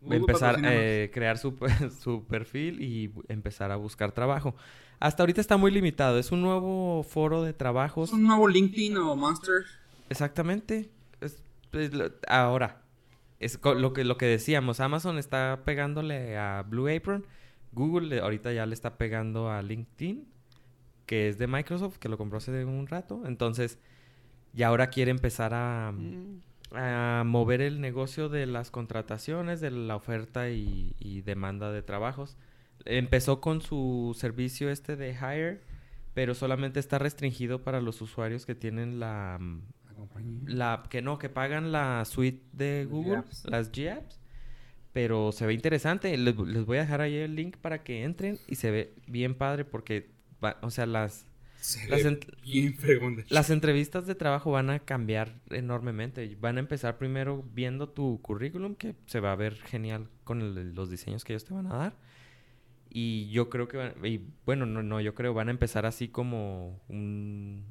Speaker 2: Google
Speaker 1: empezar eh, a
Speaker 2: patrocínanos.
Speaker 1: crear su, [LAUGHS] per- su perfil y bu- empezar a buscar trabajo. Hasta ahorita está muy limitado. Es un nuevo foro de trabajos.
Speaker 2: ¿Es un nuevo LinkedIn o Monster?
Speaker 1: Exactamente. Es- pues, lo- ahora, es co- lo que, lo que decíamos, Amazon está pegándole a Blue Apron, Google le- ahorita ya le está pegando a LinkedIn, que es de Microsoft, que lo compró hace un rato. Entonces, y ahora quiere empezar a,
Speaker 3: Mm.
Speaker 1: a mover el negocio de las contrataciones, de la oferta y, y demanda de trabajos. Empezó con su servicio este de Hire, pero solamente está restringido para los usuarios que tienen la, mm, la que no, que pagan la suite de
Speaker 2: Las
Speaker 1: Google,
Speaker 2: GApps.
Speaker 1: las GApps. Pero se ve interesante. Les, les voy a dejar ahí el link para que entren y se ve bien padre porque, va- o sea, las
Speaker 2: Se
Speaker 1: Las
Speaker 2: ve
Speaker 1: ent-
Speaker 2: bien fregón de-
Speaker 1: las entrevistas de trabajo van a cambiar enormemente. Van a empezar primero viendo tu currículum, que se va a ver genial con el- los diseños que ellos te van a dar. Y yo creo que, van- y bueno, no, no, yo creo, van a empezar así como un-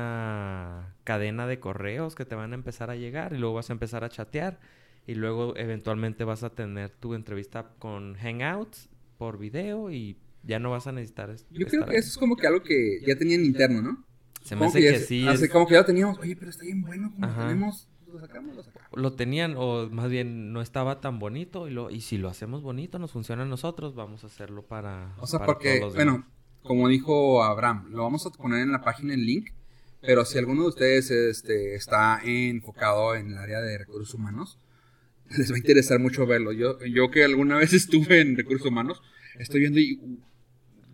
Speaker 1: una cadena de correos que te van a empezar a llegar y luego vas a empezar a chatear y luego eventualmente vas a tener tu entrevista con Hangouts por video y ya no vas a necesitar es-
Speaker 2: Yo creo
Speaker 1: estar
Speaker 2: que
Speaker 1: ahí.
Speaker 2: eso es como que algo que ya tenían interno, ¿no?
Speaker 1: Se me
Speaker 2: Como
Speaker 1: hace
Speaker 2: ya
Speaker 1: que,
Speaker 2: se-
Speaker 1: sí
Speaker 2: hace
Speaker 1: es-
Speaker 2: como que ya lo teníamos. Oye, pero está bien bueno. Como lo
Speaker 1: Ajá.
Speaker 2: tenemos, lo sacamos, lo sacamos.
Speaker 1: lo tenían o más bien no estaba tan bonito y, lo, y si lo hacemos bonito nos funciona a nosotros vamos a hacerlo para
Speaker 2: O sea,
Speaker 1: para
Speaker 2: porque,
Speaker 1: todos los
Speaker 2: bueno,
Speaker 1: demás.
Speaker 2: como dijo Abraham, lo vamos a poner en la página el link, pero si alguno de ustedes este, está enfocado en el área de recursos humanos, les va a interesar mucho verlo. Yo, yo que alguna vez [LAUGHS] estuve en recursos humanos, estoy viendo y,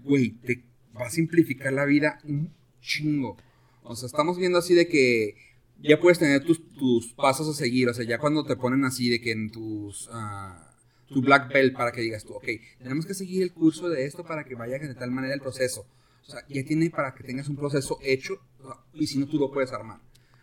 Speaker 2: güey, te va a simplificar la vida un chingo. O sea, estamos viendo así de que ya puedes tener tus, tus pasos a seguir. O sea, ya cuando te ponen así de que en tus... ah, tu black belt para que digas tú, ok, tenemos que seguir el curso de esto para que vaya de tal manera el proceso. O sea, ya tiene para que tengas un proceso hecho o sea, y si no tú lo puedes armar.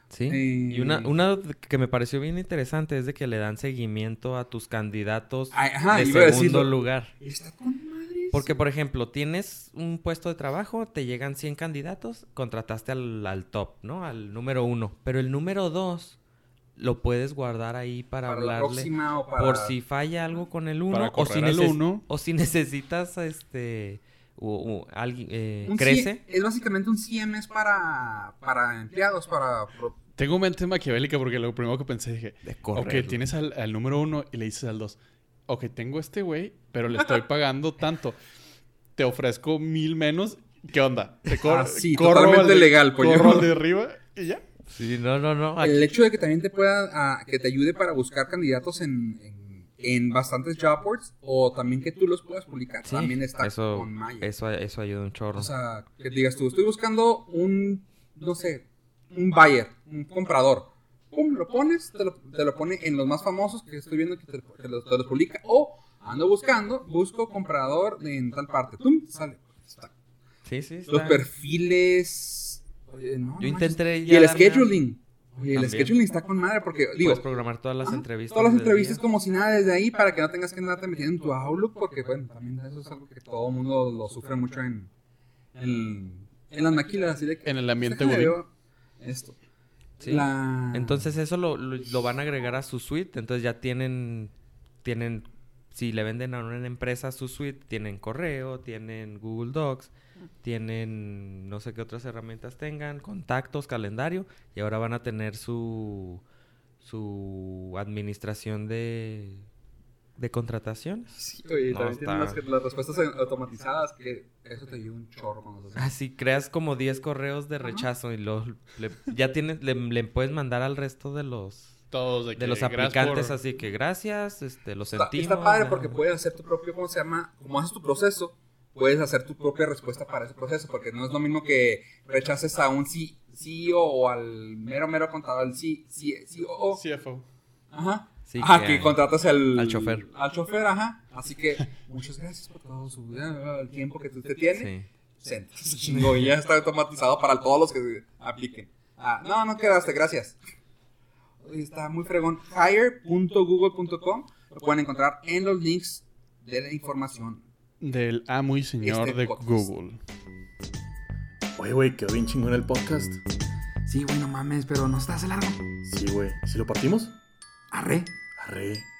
Speaker 1: sí y
Speaker 2: eh,
Speaker 1: una una que me pareció bien interesante es de que le dan seguimiento a tus candidatos
Speaker 2: Ay, ah, ajá,
Speaker 1: de
Speaker 2: iba a
Speaker 1: segundo
Speaker 2: decirlo.
Speaker 1: lugar
Speaker 2: Está con madres.
Speaker 1: porque por ejemplo tienes un puesto de trabajo te llegan 100 candidatos contrataste al, al top no al número uno pero el número dos lo puedes guardar ahí para,
Speaker 2: para la
Speaker 1: hablarle
Speaker 2: próxima o para...
Speaker 1: Por si falla algo con el
Speaker 3: Para
Speaker 1: 1 o, si
Speaker 3: correr al
Speaker 1: neces-
Speaker 3: uno.
Speaker 1: o si [LAUGHS] necesitas este o, o alguien eh,
Speaker 2: un
Speaker 1: crece.
Speaker 2: C- es básicamente un CMS para, para empleados, para... pro-
Speaker 3: Tengo mente maquiavélica porque lo primero que pensé dije,
Speaker 1: De
Speaker 3: ok, tienes al, al número uno y le dices al dos, ok, tengo este güey, pero le estoy pagando tanto. Te ofrezco mil menos, ¿qué onda? Te cor-
Speaker 2: Ah, sí,
Speaker 3: corro al
Speaker 2: totalmente
Speaker 3: de-
Speaker 2: legal, pues, pollo.
Speaker 3: Corro al de arriba y ya.
Speaker 1: Sí, no, no, no. aquí-
Speaker 2: El hecho de que también te pueda, ah, que te ayude para buscar candidatos en, en, en bastantes job boards o también que tú los puedas publicar,
Speaker 1: sí,
Speaker 2: también está
Speaker 1: eso,
Speaker 2: con Maya.
Speaker 1: eso, eso ayuda un chorro.
Speaker 2: O sea, que digas tú, estoy buscando un, no sé, un buyer, un comprador. Pum, lo pones, te lo, te lo pone en los más famosos que estoy viendo que te, que lo- te los publica. O ando buscando, busco comprador en tal parte. Tum, sale. Está.
Speaker 1: sí, sí. está-
Speaker 2: Los perfiles. Oye, no,
Speaker 1: Yo
Speaker 2: no
Speaker 1: intenté.
Speaker 2: manches. Y
Speaker 1: ya
Speaker 2: el
Speaker 1: darme a-
Speaker 2: scheduling. Oye, el
Speaker 1: También.
Speaker 2: scheduling está con madre porque, digo,
Speaker 1: Puedes programar todas las
Speaker 2: Ajá,
Speaker 1: entrevistas.
Speaker 2: Todas las
Speaker 1: del
Speaker 2: entrevistas
Speaker 1: día.
Speaker 2: como si nada desde ahí para que no tengas que andarte metiendo en tu Outlook, porque bueno, también eso es algo que todo el mundo lo sufre mucho en, en, en las maquilas, así de que...
Speaker 3: En el ambiente
Speaker 2: déjame
Speaker 3: godín.
Speaker 2: ver Esto.
Speaker 1: Sí.
Speaker 2: La-
Speaker 1: Entonces eso lo, lo- lo van a agregar a su suite. Entonces ya tienen, tienen, si le venden a una empresa su suite, tienen correo, tienen Google Docs, tienen no sé qué otras herramientas tengan, contactos, calendario, y ahora van a tener su su administración de, de contrataciones.
Speaker 2: Sí, oye, y
Speaker 1: No,
Speaker 2: también
Speaker 1: está-
Speaker 2: tienen las, que- las respuestas automatizadas, que eso te ayuda un chorro
Speaker 1: [LAUGHS]
Speaker 2: cuando se hace.
Speaker 1: Así creas como 10 correos de rechazo y los ya tienes, le, le puedes mandar al resto de los
Speaker 3: Todos de,
Speaker 1: de los aplicantes así que gracias, este, lo
Speaker 2: Está,
Speaker 1: sentimos.
Speaker 2: está padre
Speaker 1: ah,
Speaker 2: porque puedes hacer tu propio, ¿cómo se llama? Como haces tu proceso, puedes hacer tu propia respuesta para ese proceso, porque no es lo mismo que rechaces a un C- CEO o al mero, mero contador, al C- C- COO.
Speaker 3: CFO.
Speaker 2: Ajá.
Speaker 1: Sí,
Speaker 2: ajá,
Speaker 1: que
Speaker 2: que,
Speaker 1: al-
Speaker 2: contratas al,
Speaker 1: al chofer.
Speaker 2: Al chofer, ajá. Así que muchas gracias por todo su el tiempo que tú te tienes.
Speaker 1: Sí.
Speaker 2: Senta, [LAUGHS] se chingó, y ya está automatizado para todos los que apliquen. Ah, no, no quedaste, gracias. Uy, Está muy fregón. Hire.google.com lo pueden encontrar en los links de la información.
Speaker 3: Del amo y señor
Speaker 2: Este
Speaker 3: de
Speaker 2: podcast.
Speaker 3: Google.
Speaker 4: Oye, güey, quedó bien chingón el podcast.
Speaker 2: Sí, bueno, mames, pero no estás largo.
Speaker 4: Sí, güey. ¿Si lo partimos?
Speaker 2: Arre.
Speaker 4: Arre.